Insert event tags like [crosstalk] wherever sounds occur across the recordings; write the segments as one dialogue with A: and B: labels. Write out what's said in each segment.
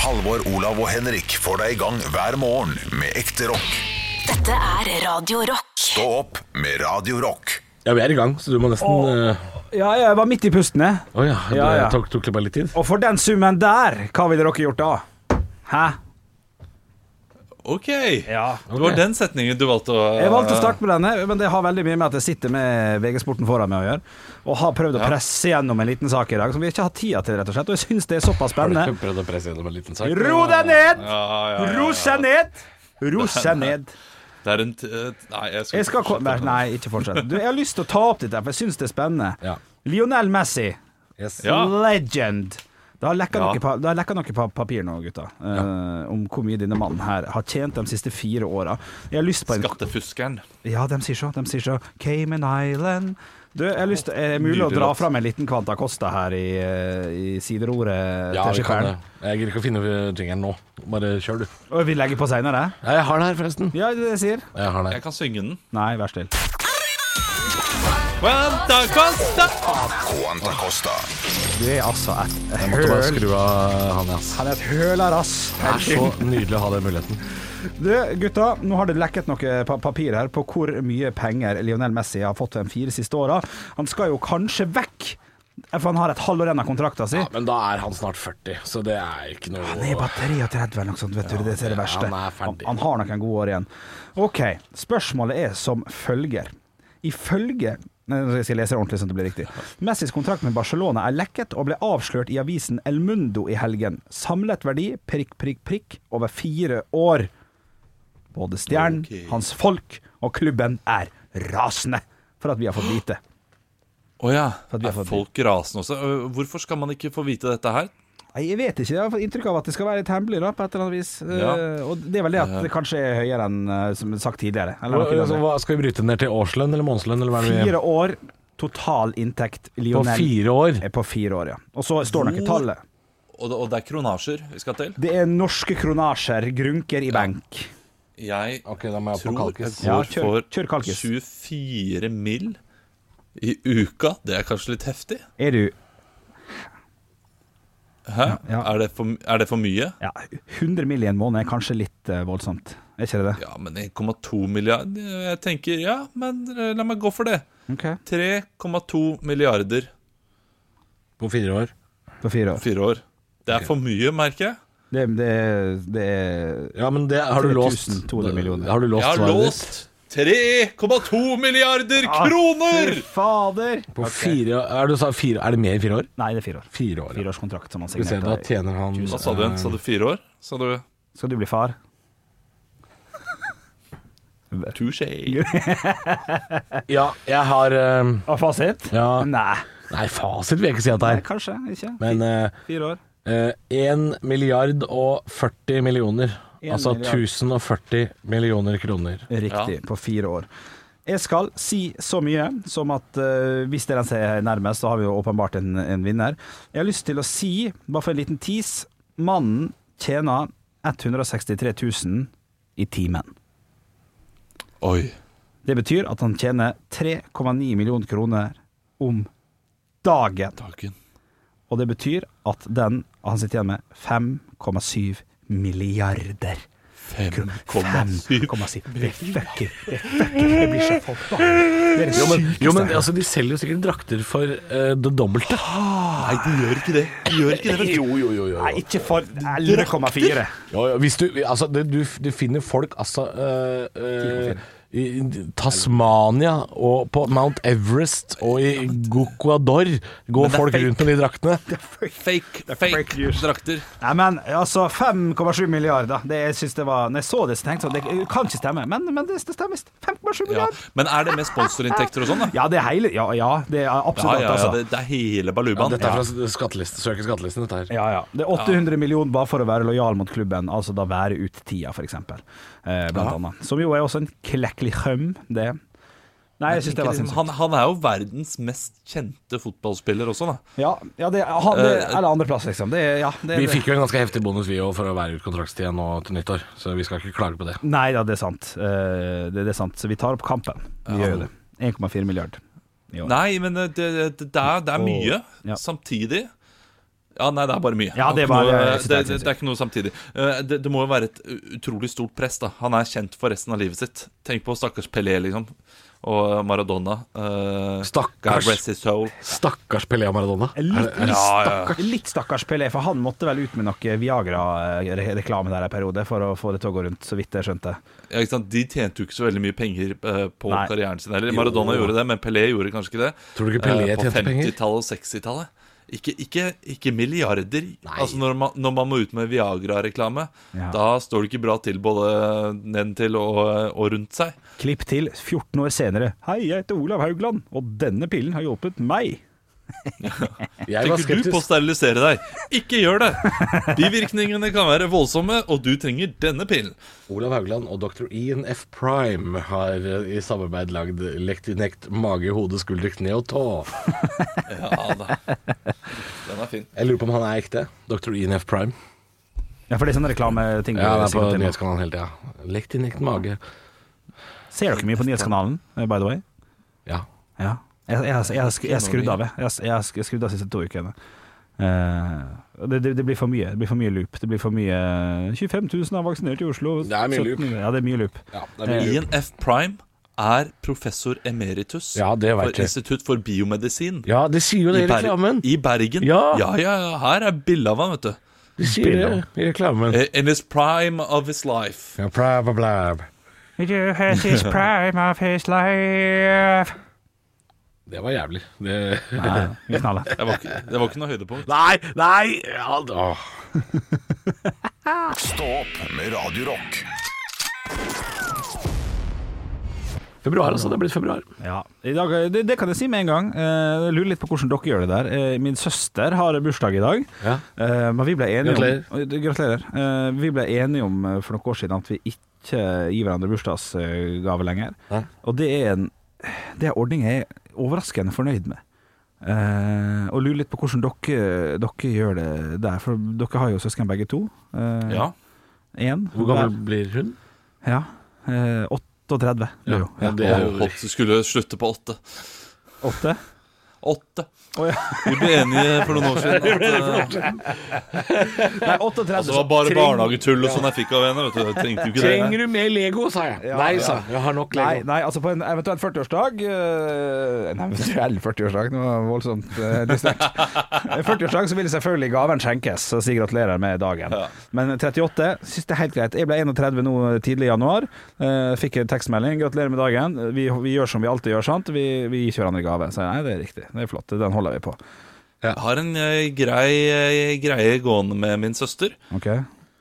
A: Halvor, Olav og Henrik får deg i gang hver morgen med ekte rock.
B: Dette er Radio Rock.
A: Stå opp med Radio Rock.
C: Ja, vi er i gang, så du må nesten eh,
D: Ja, jeg var midt i pusten, jeg.
C: Å ja, det
D: Ja, ja.
C: Tok, tok det bare litt tid?
D: Og for den summen der, hva ville dere gjort da? Hæ?
E: Ok.
D: Ja.
E: Det var den setningen du valgte å
D: Jeg valgte å starte med denne, men det har veldig mye med at jeg sitter med VG-sporten foran meg å gjøre. Og har prøvd å presse gjennom en liten sak i dag som vi ikke har tida til, rett og slett. Og jeg syns det er såpass spennende.
C: Prøvde å presse gjennom en liten sak.
D: Ro deg ned!
E: Ja, ja, ja.
D: Ro seg ned! Ro seg ned.
E: Det er en t Nei, jeg skal,
D: Jeg skal
E: fortsette.
D: kom- Nei, ikke fortsett. Du, jeg har lyst til å ta opp dette, for jeg syns det er spennende.
C: Ja.
D: Lionel Messi.
C: Yes.
E: Ja.
D: Legend. Det har lekka
E: Ja.
D: noe, pa- det har lekka noe pa papir nå, gutta, eh, om hvor mye denne mannen her har tjent de siste fire åra. Jeg har lyst på en
E: Skattefuskeren.
D: Ja, de sier så. De sier så. Cayman Island. Du, jeg har lyst til, er det mulig å
E: Nydelig
D: dra
E: låt.
D: fram en liten Kvanta Costa her i, eh, i sideroret
C: Ja, vi
D: til
C: kan det.
D: skipperen?
C: Jeg gidder ikke å finne jingeren nå. Bare kjør, du.
D: Og vi legger på seinere?
C: Ja, jeg har den her, forresten.
D: Ja, det er det jeg sier.
C: Jeg har den
E: Jeg
C: her.
E: kan synge den.
D: Nei, vær still.
E: Quanta costa
A: Quanta Costa.
D: Du er altså et
C: Jeg måtte bare
D: høl.
C: skru av han, ass.
D: Han er et høler, ass.
C: Det er så nydelig å ha den muligheten.
D: Du, gutta, nå har det lekket noe eh, pa papir her på hvor mye penger Lionel Messi har fått de fire siste åra. Han skal jo kanskje vekk, eh, for han har et halvår igjen av kontrakta si.
C: Ja, men da er han snart 40, så det er ikke noe
D: Han er bare 33 eller noe sånt, vet du. Det er det
C: det-
D: verste.
C: han er
D: Han,
C: ferdig.
D: han har noen gode år igjen. OK, spørsmålet er som følger. Ifølge Nei, Jeg skal lese det ordentlig, sånn at det blir riktig. Messis kontrakt med Barcelona er lekket og ble avslørt i avisen El Mundo i helgen. Samlet verdi prikk, prikk, prikk over fire år. Både stjernen, hans folk og klubben er rasende for at vi har fått vite.
E: Å ja.
D: For at vi har
E: Er
D: fått
E: folk rasende også? Øh, Hvorfor skal man ikke få vite dette her?
D: Nei, jeg vet ikke. Jeg har fått inntrykk av at det skal være litt hemmelig, da, på et eller annet vis.
E: Ja.
D: Eh, og det er vel det at det kanskje er høyere enn eh, som sagt tidligere. Eller noe i den
C: Altså,
D: retning.
C: hva, skal vi bryte ned til årslønn eller månedslønn? Eller hva er det
D: Fire år total inntekt.
C: vi På
D: Lionel
C: fire år?
D: er på fire år, ja. Og så står nok
E: Hvor-
D: tallet.
E: Og det, og det er kronasjer vi skal til.
D: Det er norske kronasjer, grunker i benk.
E: Jeg
C: Ok, da må jeg på
E: tror jeg
C: kalkis.
D: Ja,
E: går
D: kjør- kjør
E: for
D: kalkis.
E: 24 mill. i uka. Det er kanskje litt heftig?
D: Er du
E: Hæ?
D: Ja.
E: Er, det for, er det for mye?
D: ja, 100 mill. i en måned er kanskje litt eh, voldsomt, er ikke det det?
E: Ja, men 1,2 milliard øh, Jeg tenker, ja, men eh, la meg gå for det.
D: Ok.
E: 3,2 milliarder
C: På fire år.
D: På fire
E: på
D: år.
E: fire år. Det er for mye, merker jeg.
D: Det, det, det er
C: Ja, men det har du låst.
D: 3200 millioner.
C: Har du låst
E: Jeg har
C: svaret ditt?
E: låst 3,2 milliarder kroner!
D: Ah, Fy fader!
C: På fire, er, det, du sa fire, er det mer enn fire år?
D: Nei, det er fire år.
C: Fire år. ja.
D: Fireårskontrakt som han
C: Skal vi se, da
D: signerte.
C: tjener han
E: Hva sa du igjen? Sa du fire år? Sa du
D: Skal du bli far?
E: touché?
C: Ja, jeg har eh,
D: Og fasit?
C: Ja.
D: Nei.
C: Nei, fasit vil jeg ikke si at det
D: Nei,
C: er.
D: kanskje ikke.
C: Men
D: Fire år.
C: 1 milliard og 40 millioner.
D: En
C: altså
D: milliard.
C: 1040 millioner kroner.
D: Riktig, på fire år. Jeg skal si så mye som at eh, hvis det er den som er nærmest, så har vi jo åpenbart en, en vinner. Jeg har lyst til å si, bare for en liten tease, mannen tjener 163 000 i timen.
E: Oi.
D: Det betyr at han tjener 3,9 millioner kroner om dagen.
E: Dagen.
D: Og det betyr at den han sitter igjen med, 5,7 milliarder.
E: 5,7
D: 5,7. Det er fucking Det er fucking Jeg blir så forbanna. Det er det
C: Jo, men, jo,
D: sykeste
C: men
D: jeg har hørt.
C: altså, de selger jo sikkert drakter for eh, det dobbelte.
E: Nei, de gjør ikke det. De gjør ikke det. vet du.
C: Jo, jo, jo. jo.
D: Nei, ikke for 11,4.
C: Jo, jo, hvis du, altså, det, du, du finner folk altså, eh, eh, i i Tasmania og på Mount Everest og i Gokuador går
E: det er
C: folk
E: fake.
C: rundt med de draktene.
E: Fake,
D: fake
E: fake
D: news.
E: drakter.
D: Nei, men altså 5,7 milliarder. Det jeg synes det var Når jeg så det, så tenkte jeg at det kan ikke stemme. Men, men det, det stemmer. visst. 5,7
E: Ja.
D: milliarder.
E: Men er det med sponsorinntekter og sånn, da?
D: Ja, det er hele Ja, ja det er
E: Ja,
D: absolutt
E: ja, ja,
D: altså.
E: det, det er hele balubaen.
C: Dette er fra skatteliste, søker skattelisten, dette her.
D: Ja, ja. Det er 800 millioner bare for å være lojal mot klubben, altså da være ut tida, for eksempel. Eh, blant annet. Som jo er også en klekkelig høm, det. Nei, jeg syns det var
E: Liksom,
D: sinnssykt.
E: han, han er jo verdens mest kjente fotballspiller også, da.
D: Ja, ja det, han, det
E: Eh,
D: eller andreplass, liksom. Det, er- ja, det,
C: Vi fikk jo en ganske heftig bonus vi òg for å være ut kontraktstida nå til nyttår, så vi skal ikke klage på det.
D: Nei da, det er sant. Eh, det, det er sant. Så vi tar opp kampen. Vi gjør jo det. 1,4 milliard. Ja.
E: Nei, men eh, det, det, det, er, det er mye
D: Ja.
E: samtidig. Ja, nei, det er bare mye.
D: Ja, det er
E: ikke
D: bare-
E: noe, det, det, det er ikke noe samtidig. Eh, Det, det må jo være et utrolig stort press, da. Han er kjent for resten av livet sitt. Tenk på stakkars Pelé, liksom. Og Maradona. Eh,
C: Stakkars.
E: God rest his soul.
C: Stakkars Pelé og Maradona.
D: Litt, litt,
E: Ja, ja.
D: stakkars, litt stakkars Pelé, for han måtte vel ut med noe Viagra-reklame der en periode for å få det til å gå rundt, så vidt jeg skjønte.
E: Ja, ikke sant? De tjente jo ikke så veldig mye penger eh, på
D: Nei.
E: karrieren sin heller. Maradona gjorde det, men Pelé gjorde kanskje ikke det.
C: Tror du ikke Pelé
E: Eh,
C: tjente
E: På
C: penger?
E: 50-tallet og 60-tallet. Ikke, ikke, ikke milliarder. Altså når man, når man må ut med Viagra-reklame,
D: Ja.
E: da står det ikke bra til både nedentil og, eh, og rundt seg.
D: Klipp til 14 år senere. Hei, jeg heter Olav Haugland, og denne pillen har hjulpet meg.
C: Jeg var
E: Tenker du på å
C: skeptisk.
E: sterilisere deg? Ikke gjør det! Bivirkningene kan være voldsomme, og du trenger denne pillen.
C: Olav Haugland og dr. Ian F. Prime har eh, i samarbeid lagd Lekt i nekt, mage, hode, skulder, kne og tå.
E: Ja da. Den er fin.
C: Jeg lurer på om han er ekte. Dr. Ian F. Prime.
D: Ja, for det er sånne reklameting.
C: Ja,
D: du
C: det er på
D: sikkert til nå.
C: nyhetskanalen hele tida. Lekt i nekt, mage.
D: Ser dere mye på nyhetskanalen, eh, by the way?
C: Ja.
D: Ja. Jeg, jeg, jeg, jeg, jeg skrudd av, jeg. Jeg, jeg, har sk- skrudd av de siste to ukene. Eh, det, det, det blir for mye. Det blir for mye loop. Det blir for mye eh, 25 000 er vaksinert i Oslo.
C: Det er mye
D: 17
C: loop.
D: Ja, det er mye loop.
C: Ja, det er mye
E: Ian F. Prime er professor emeritus
C: Ja, det vet
E: for
C: jeg.
E: Institutt for biomedisin.
C: Ja, de sier jo det
E: I,
C: i
E: Ber
C: reklamen.
E: I Bergen.
C: Ja.
E: ja, ja, ja. Her er bilde av han, vet du.
C: De sier det i reklamen.
E: Eh, In his prime of his life.
C: Ja, blab, blab, blab.
D: Eh, his prime of his life.
C: Det var jævlig. Det...
D: Nei, vi knaller.
E: Det var ikke, det var ikke noe høydepunkt.
C: [laughs] Nei, nei! Ja, åh.
A: Stå opp med Radio Rock.
C: Februar, altså. Det er blitt februar.
D: Ja, i dag, det, det kan jeg si med en gang. Eh, Jeg lurer litt på hvordan dere gjør det der. Eh, Min søster har bursdag i dag.
C: Ja.
D: Eh, Men vi ble enige
C: Gratulerer.
D: om Eh, Gratulerer. Eh, Vi ble enige om eh, for noen år siden at vi ikke gir hverandre bursdagsgave lenger.
C: Nei.
D: Og det er en Det er en ordning jeg er overraskende fornøyd med. Eh, og lurer litt på hvordan dere, dere gjør det der, for dere har jo søsken begge to. Eh,
E: Ja.
D: En.
C: Hvor gammel blir hun?
D: Ja. Eh, 38. blir hun.
C: ja, det er jo-
E: Og Holt skulle slutte på åtte.
D: Åtte.
E: Åtte.
D: Å ja.
E: Vi ble enige for noen år
C: [laughs]
E: siden. At, eh,
D: Nei, 38.
E: altså, det var bare barnehagetull og sånn jeg fikk av henne. Vet du. Jeg trengte jo ikke det.
C: du mer Lego, sa jeg. nei, sa jeg. Jeg har nok
E: liksom.
D: Nei, nei, altså på en eventuell 40-årsdag eh, En eventuell 40-årsdag, det var voldsomt eh, distert. En 40-årsdag så vil selvfølgelig gaven skjenkes, og si gratulerer med dagen. Men 38 syns det er helt greit. Jeg ble 31 nå tidlig i januar. eh, fikk en tekstmelding. Gratulerer med dagen. Vi, vi gjør som vi alltid gjør, sant? Vi, vi gir ikke hverandre gave. Så jeg, nei, det er riktig. Det er flott. Den holder vi på.
E: Jeg har en eh, grei eh, greie gående med min søster.
D: Ok?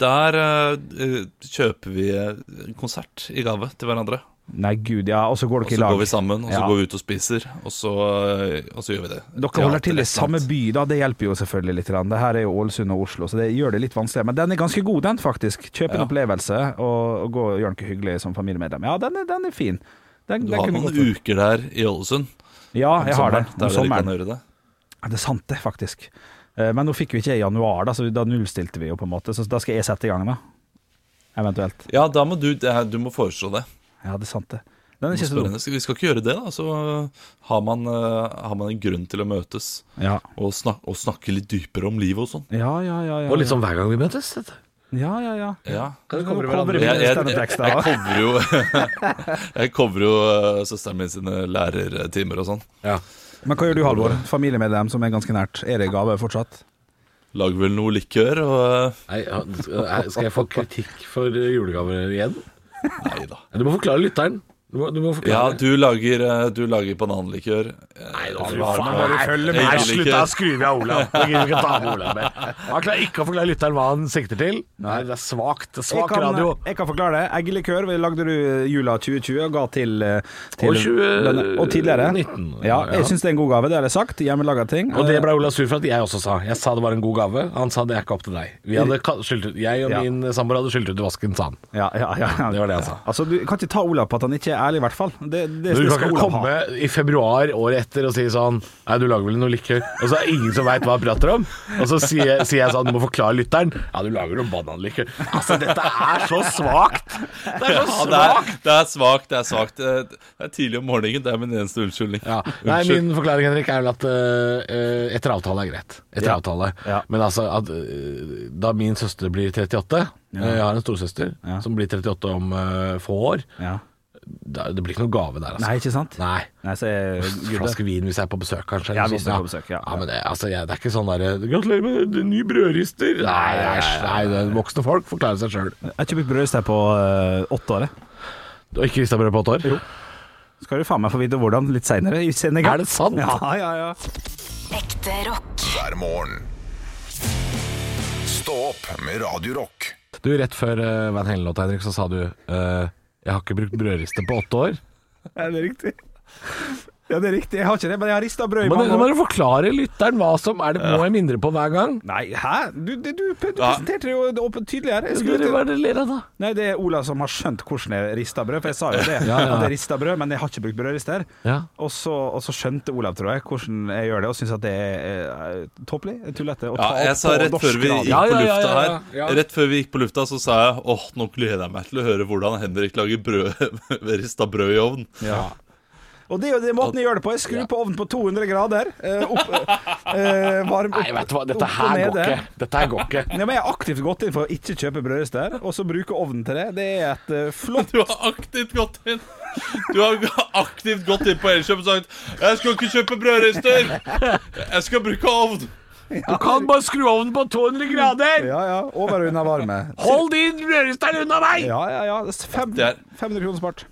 E: Der eh, eh, kjøper vi eh, konsert i gave til hverandre.
D: Nei, gud, ja. Og så går
E: Og
D: dere
E: så
D: i lag.
E: går vi sammen, og så
D: Ja.
E: går vi ut og spiser, og så, eh, og så gjør vi det.
D: Dere holder til i
E: Teater,
D: samme by, da. Det hjelper jo selvfølgelig litt. grann. Det her er jo Ålesund og Oslo, så det gjør det litt vanskeligere. Men den er ganske god, den, faktisk. Kjøp en
E: Ja.
D: opplevelse og, og gå og gjør noe hyggelig som familiemedlem. Ja, den er, den er fin. Den,
E: Du
D: den
E: har
D: kunne
E: noen
D: gått for.
E: uker der i Ålesund.
D: Ja, jeg har det.
E: Der
D: Om
E: dere kan
D: sommeren.
E: gjøre det.
D: Ja, Det er sant, det, faktisk. Eh, Men nå fikk vi ikke i januar, da, så da nullstilte vi jo, på en måte. Så da skal jeg sette i gang, da. Eventuelt.
E: Ja, da må du, det er- du må foreslå det.
D: Ja, det er sant, det. Den
E: Du
D: er
E: må
D: ikke så
E: spørre
D: dum.
E: henne. Skal- Vi skal ikke gjøre det, da. Så har man, eh, har man en grunn til å møtes
D: Ja.
E: og, snak og snakke litt dypere om livet og sånn.
D: Ja, ja, ja. ja,
C: Og litt
D: ja.
C: sånn hver gang vi møtes. vet du.
D: ja, ja, ja.
E: Ja.
C: Kan du
D: Nå
C: komme
D: kommer
C: hverandre?
D: vi
E: Jeg,
D: med
E: jeg, jeg,
D: standup-tekster,
E: jeg
D: da.
E: coverer jo, jeg coverer jo [laughs] eh, søsteren min sine lærertimer og sånn.
C: Ja.
D: Men hva gjør du, Halvor? Familiemedlem som er ganske nært. Er det gave fortsatt?
E: Lager vel noe likør og
C: Nei, ja, Eh, skal
D: [laughs]
C: jeg få kritikk for eh, julegaver igjen?
E: Nei da.
C: Du må forklare lytteren. Du må, du må
E: Ja,
C: forklare.
E: du lager, eh, du lager bananlikør. Nei,
C: Nei, slutt da skriver jeg Olav. Jeg gidder ikke ta med Olav mer. Han klarer ikke å forklare lytteren hva han sikter til. Nei, det er svakt. Det er
D: Jeg
C: Svak
D: kan,
C: radio.
D: jeg kan forklare det. Eggelikør vi lagde du jula 2020 og ga til, eh, til
C: Og 20
D: denne- og tidligere.
C: 19,
D: ja,
C: ja.
D: jeg syns det er en god gave, det har jeg sagt. Hjemmelaga ting.
C: Og det ble Olav sur for at jeg også sa. Jeg sa det var en god gave. Han sa det er ikke opp til deg. Vi hadde ka- skylt ut, jeg og
D: Ja.
C: min samboer hadde skylt ut i vasken, sa han.
D: ja, ja, ja.
C: Det var det jeg sa.
D: Altså, du kan ikke ta Olav på at han ikke er ærlig, i hvert fall. Det, det,
C: Du
D: det
C: kan
D: skal
C: ikke
D: Olav ha.
C: komme i februar året etter og si sånn Nei, du lager vel noe like Og så er det ingen som veit hva jeg prater om. Og så sier jeg, sier jeg sånn Du må forklare lytteren. Ja, du lager noe bananlikør. Altså, dette er så svakt! Det er så
E: [laughs] Ja, det,
C: svakt!
E: er, det er svakt, det er svakt. Eh, Det er tidlig om morgenen, det er min eneste unnskyldning.
C: Ja. Nei, min forklaring Henrik er vel at eh, eh, etter avtale er greit. Etter
D: Ja.
C: avtale.
D: Ja.
C: Men altså at eh, da min søster blir 38 eh, Jeg har en storesøster
D: Ja.
C: som blir 38 om eh, få år.
D: Ja.
C: Da, det blir ikke noe gave der, altså.
D: Nei, ikke sant?
C: Nei.
D: Nei så er gudde.
C: Flaske vin hvis jeg er på besøk, kanskje.
D: Ja,
C: eller
D: hvis
C: sånn,
D: du er på besøk, ja.
C: ja men det, altså, jeg, det er ikke sånn derre 'Gratulerer med ny brødrister'. Nei, æsj. Nei, det er voksne folk forklarer seg sjøl.
D: Jeg har ikke brukt brødrist her på eh, åtte år. jeg.
C: Du har ikke rista brød på åtte år?
D: Skal du faen meg få vite hvordan litt seinere i sendinga.
C: Er det sant?
D: Ja, ja, ja.
B: Ekte rock.
A: hver morgen. Stå opp med Radio Rock.
C: Du, rett før eh, Van Halen-låta, Henrik, så sa du eh, 'Jeg har ikke brukt brødrister på åtte år'.
D: Ja, det er riktig. Ja, det er riktig. Jeg har ikke det, men jeg har rista brød i
C: Men
D: mange
C: nå må
D: år.
C: du forklare lytteren hva som er det må jeg mindre på hver gang.
D: Nei, hæ? Du, du, du, du presenterte det jo åpent tydelig her. Jeg skulle
C: Dere,
D: til-
C: hva er det dere ler av da?
D: Nei, det er Ola som har skjønt hvordan jeg rista brød, for jeg sa jo det.
C: [laughs] Ja, ja.
D: At jeg rista brød, men jeg har ikke brukt brødrister.
C: Ja.
D: Og, så, og så skjønte Olav, tror jeg, hvordan jeg gjør det, og syns at det er eh, tåpelig, tullete, å
E: Ja,
D: ta
E: jeg sa
D: opp
E: rett
D: på
E: før
D: norsk
E: vi gikk
C: Ja,
D: radio.
E: på
C: ja, ja,
E: lufta
C: ja,
E: her,
C: ja. Ja.
E: Rett før vi gikk på lufta, så sa jeg åh, nå gleder jeg meg til å høre hvordan Henrik lager brød, [laughs] rista brød i ovnen.
D: Og det er jo den måten jeg gjør det på. Jeg skrur på ovnen på 200 grader. eh, opp, eh, varm opp,
C: Nei, vet du hva, dette
D: opp og
C: her går
D: nede.
C: ikke. Dette her går ikke.
D: Ja, men jeg har aktivt gått inn for å ikke kjøpe brødrister, og så bruke ovnen til det. Det er et eh, flott
E: Du har aktivt gått inn Du har aktivt gått inn på Elkjøp og sagt Jeg skal ikke kjøpe brødrister Jeg skal bruke ovn
C: Du kan bare skru ovnen på 200 grader!
D: Ja, ja. Over og unna varme.
C: Hold de brødristerne unna meg!
D: Ja, ja, ja. Fem,
E: Det er-
D: 500 kroner spart.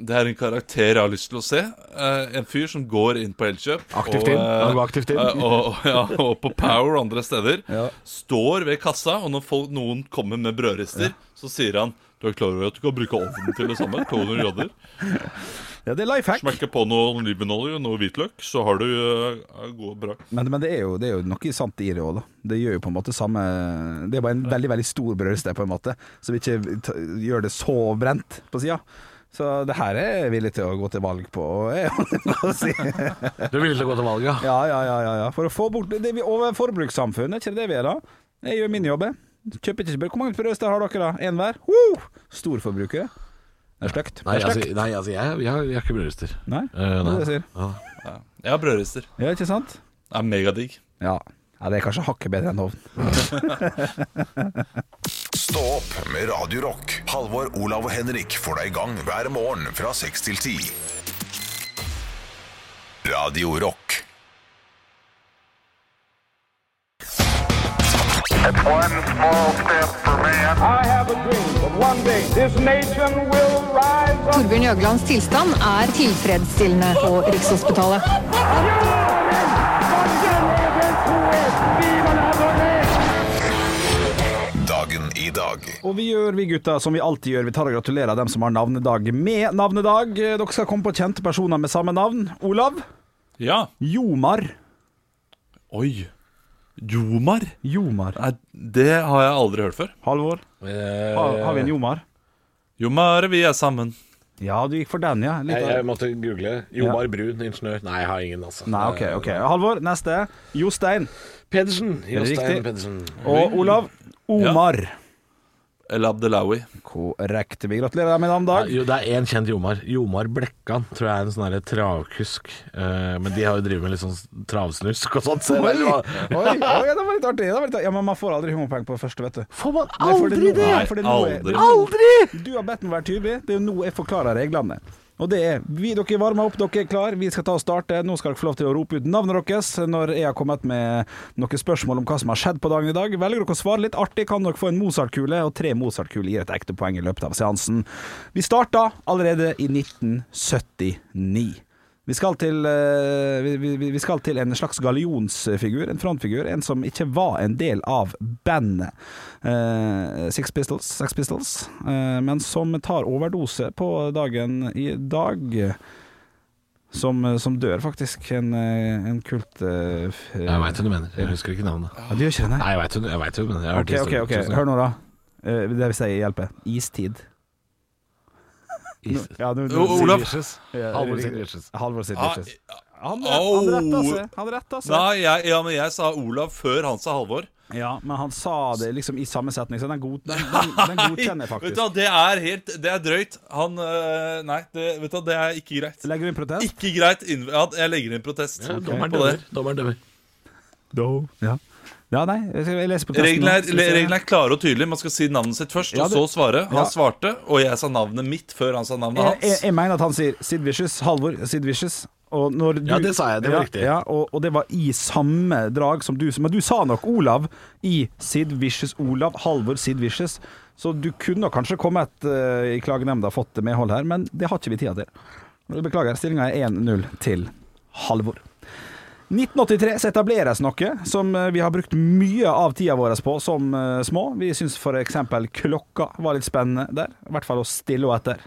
E: Det er en karakter jeg har lyst til å se Eh, En fyr som går inn på Elkjøp
C: Aktivt
E: og,
C: inn.
E: eh,
C: Han går aktivt inn.
E: eh, og, ja, og på Power og andre
C: [laughs]
E: steder
D: Ja.
E: Står ved kassa Og når folk, noen kommer med brødrister Så sier han Du er klar over at du kan bruke ovnen til det samme 200 grader
D: Ja, det er life hack.
E: Smekke på noe olivenolje og noe hvitløk Så har du uh, god brød
D: Men, men det, er jo, det er jo noe sant i det òg, da. Det gjør jo på en måte samme Det er bare en veldig veldig stor brødriste, på en måte, som ikke ta- gjør det så brent på sida. Så det her er jeg villig til å gå til valg på. og jeg [laughs] holder på å si.
C: Du er villig til å gå til valg, ja?
D: Ja, ja, ja, ja, ja. For å få bort det vi over forbrukssamfunnet, er ikke det det vi er da? Jeg gjør min jobb, jeg. Kjøper ikke brød. Hvor mange brødrister har dere, da? Én hver? Woo! Storforbrukere. Det er stygt.
C: Nei,
D: Det er
C: altså,
D: stygt.
C: nei, altså jeg, jeg, har- jeg har ikke brødrister.
D: Nei,
C: Eh,
D: det
C: nei.
D: er det jeg sier.
E: Jeg har brødrister
D: Ja, ikke sant?
E: Det er megadigg
D: Ja. ja det er kanskje hakket bedre enn ovn.
A: Stå opp med Radio Rock. Halvor, Olav og Henrik får deg i gang hver morgen fra seks til ti. Radio Rock.
F: One small step for man.
G: I have a dream that one day this nation will rise up.
H: Torbjørn Jøglands tilstand er tilfredsstillende på Rikshospitalet.
A: Dagen i dag.
D: Og vi gjør, vi gutta, som vi alltid gjør. Vi tar og gratulerer dem som har navnedag med navnedag. Eh, Dere skal komme på kjente personer med samme navn. Olav.
E: Ja
D: Jomar.
E: Oi. Jomar?
D: Jomar.
E: Nei, det har jeg aldri hørt før.
D: Halvor,
C: Eh,
D: har, har vi en Jomar?
E: Jomar, vi er sammen.
D: Ja, du gikk for den, ja. Litt
C: jeg,
D: av-
C: jeg måtte google. Jomar Brun, ingeniør. Nei, jeg har ingen, altså.
D: Nei, OK. ok Halvor, neste. Jostein.
C: Pedersen.
D: Riktig.
C: Jostein Pedersen.
D: Og Olav. Omar.
E: El Abdelawi.
D: Korrekt. Vi gratulerer deg med navnedag.
C: Jo, det er én kjent Jomar. Jomar Blekkan tror jeg er en sånn derre travkusk. Eh, men de har jo drevet med litt sånn travsnusk og sånt. Så
D: Oi,
C: det var-
D: oi, oi, det var litt artig. Det var litt artig. Ja, Men man får aldri humorpoeng på første, vet du.
C: Får man
D: Nei, for
C: aldri
D: er nå-
C: det?
E: Nei,
D: for er nå jeg-
E: aldri.
C: Aldri!
D: [laughs] Du har bedt meg være tydelig. Det er jo nå jeg forklarer reglene. Og det er vi, Dere varmer opp, dere er klar Vi skal ta og starte. Nå skal dere få lov til å rope ut navnet deres når jeg har kommet med noen spørsmål om hva som har skjedd på dagen i dag. Velger dere å svare litt artig, kan dere få en Mozart-kule, og tre Mozart-kuler gir et ekte poeng i løpet av seansen. Vi starta allerede i 1979. Vi skal, til, eh, vi, vi, vi skal til en slags gallionsfigur, en frontfigur. En som ikke var en del av bandet eh, Six Pistols, Sex Pistols eh, men som tar overdose på dagen i dag. Som, som dør, faktisk. En, eh, en kult eh, f-
C: Jeg veit hva du mener. Jeg husker ikke navnet.
D: Ja, Du gjør ikke det, nei?
C: Nei, jeg veit hva du jeg vet hva du mener. Jeg har hørt
D: Ok, ok,
C: historien
D: ok.
C: tusen ganger.
D: Hør nå, da. Eh, Det vil si hjelper. Istid. Nå- ja, nå-
E: O-
D: nå-
E: Olav.
C: Halvor sin Riches.
D: Halvor sitt
E: Ah,
D: bitches. Han,
E: Au.
D: han
E: altså.
D: retta seg. Han retta seg.
E: Nei, jeg, ja, men jeg sa Olav før han sa Halvor.
D: Ja, men han sa det liksom i samme setning, så den, god, den, den, den godkjenner jeg
E: Vet du,
D: faktisk.
E: hva, det er helt Det er drøyt. Han øh, Nei, det, vet du, hva, det er ikke greit.
D: Legger du inn protest?
E: Ikke greit. innv- Ja, jeg legger inn protest.
C: Dommeren
E: på det.
C: dømmer. Dommeren dømmer.
D: Ja. ja, nei, jeg skal- jeg leser protesten.
E: Reglene er,
D: nå.
E: le- reglene er klare og tydelige. Man skal si navnet sitt først,
D: Ja,
E: og
D: det-
E: så svare. Han
D: ja. Eh,
E: svarte, og jeg sa navnet mitt før han sa navnet
D: jeg, jeg,
E: hans.
D: jeg mener at han sier Sid Vicious, Halvor Sid Vicious. Og når du,
C: Ja, det sa jeg, det var
D: ja,
C: riktig.
D: Ja, og, og det var i samme drag som du Men du sa nok Olav i Sid Vicious Olav, Halvor Sid Vicious. Så du kunne nok kanskje kommet eh, i klagenemnda og fått medhold her, men det har ikke vi tida til. Beklager, stillinga er 1-0 til Halvor. 1983 så etableres noe som eh, vi har brukt mye av tida vår på som eh, små. Vi syns f.eks. klokka var litt spennende der. I hvert fall å stille henne etter.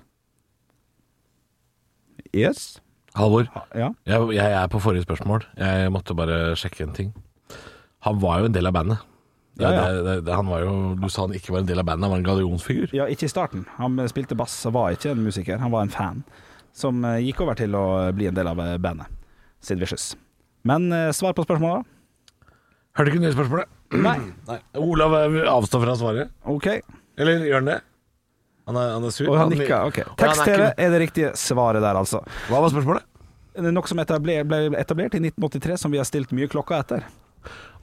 D: Yes.
C: Halvor,
D: Ja.
C: jeg, jeg er på forrige spørsmål. Jeg måtte bare sjekke en ting. Han var jo en del av bandet. Det,
D: Ja, ja.
C: det, det, det, han var jo, du sa han ikke var en del av bandet, han var en gallionsfigur.
D: ja, ikke i starten. Han spilte bass og var ikke en musiker, han var en fan. Som eh, gikk over til å bli en del av eh, bandet Sid Vicious. Men eh, svar på spørsmålet, da?
C: Hørte ikke nye spørsmålet?
D: [clears throat] Nei.
C: Nei. Olav eh, avstår fra svaret.
D: OK.
C: Eller gjør han det? Han er, han er sur.
D: Og han
C: Han-
D: nikka. OK.
C: Og han er
D: Tekst-TV
C: ikke-
D: er det riktige svaret der, altså.
C: Hva var spørsmålet?
D: Det er Noe som etabler, ble etablert i 1983, som vi har stilt mye klokka etter.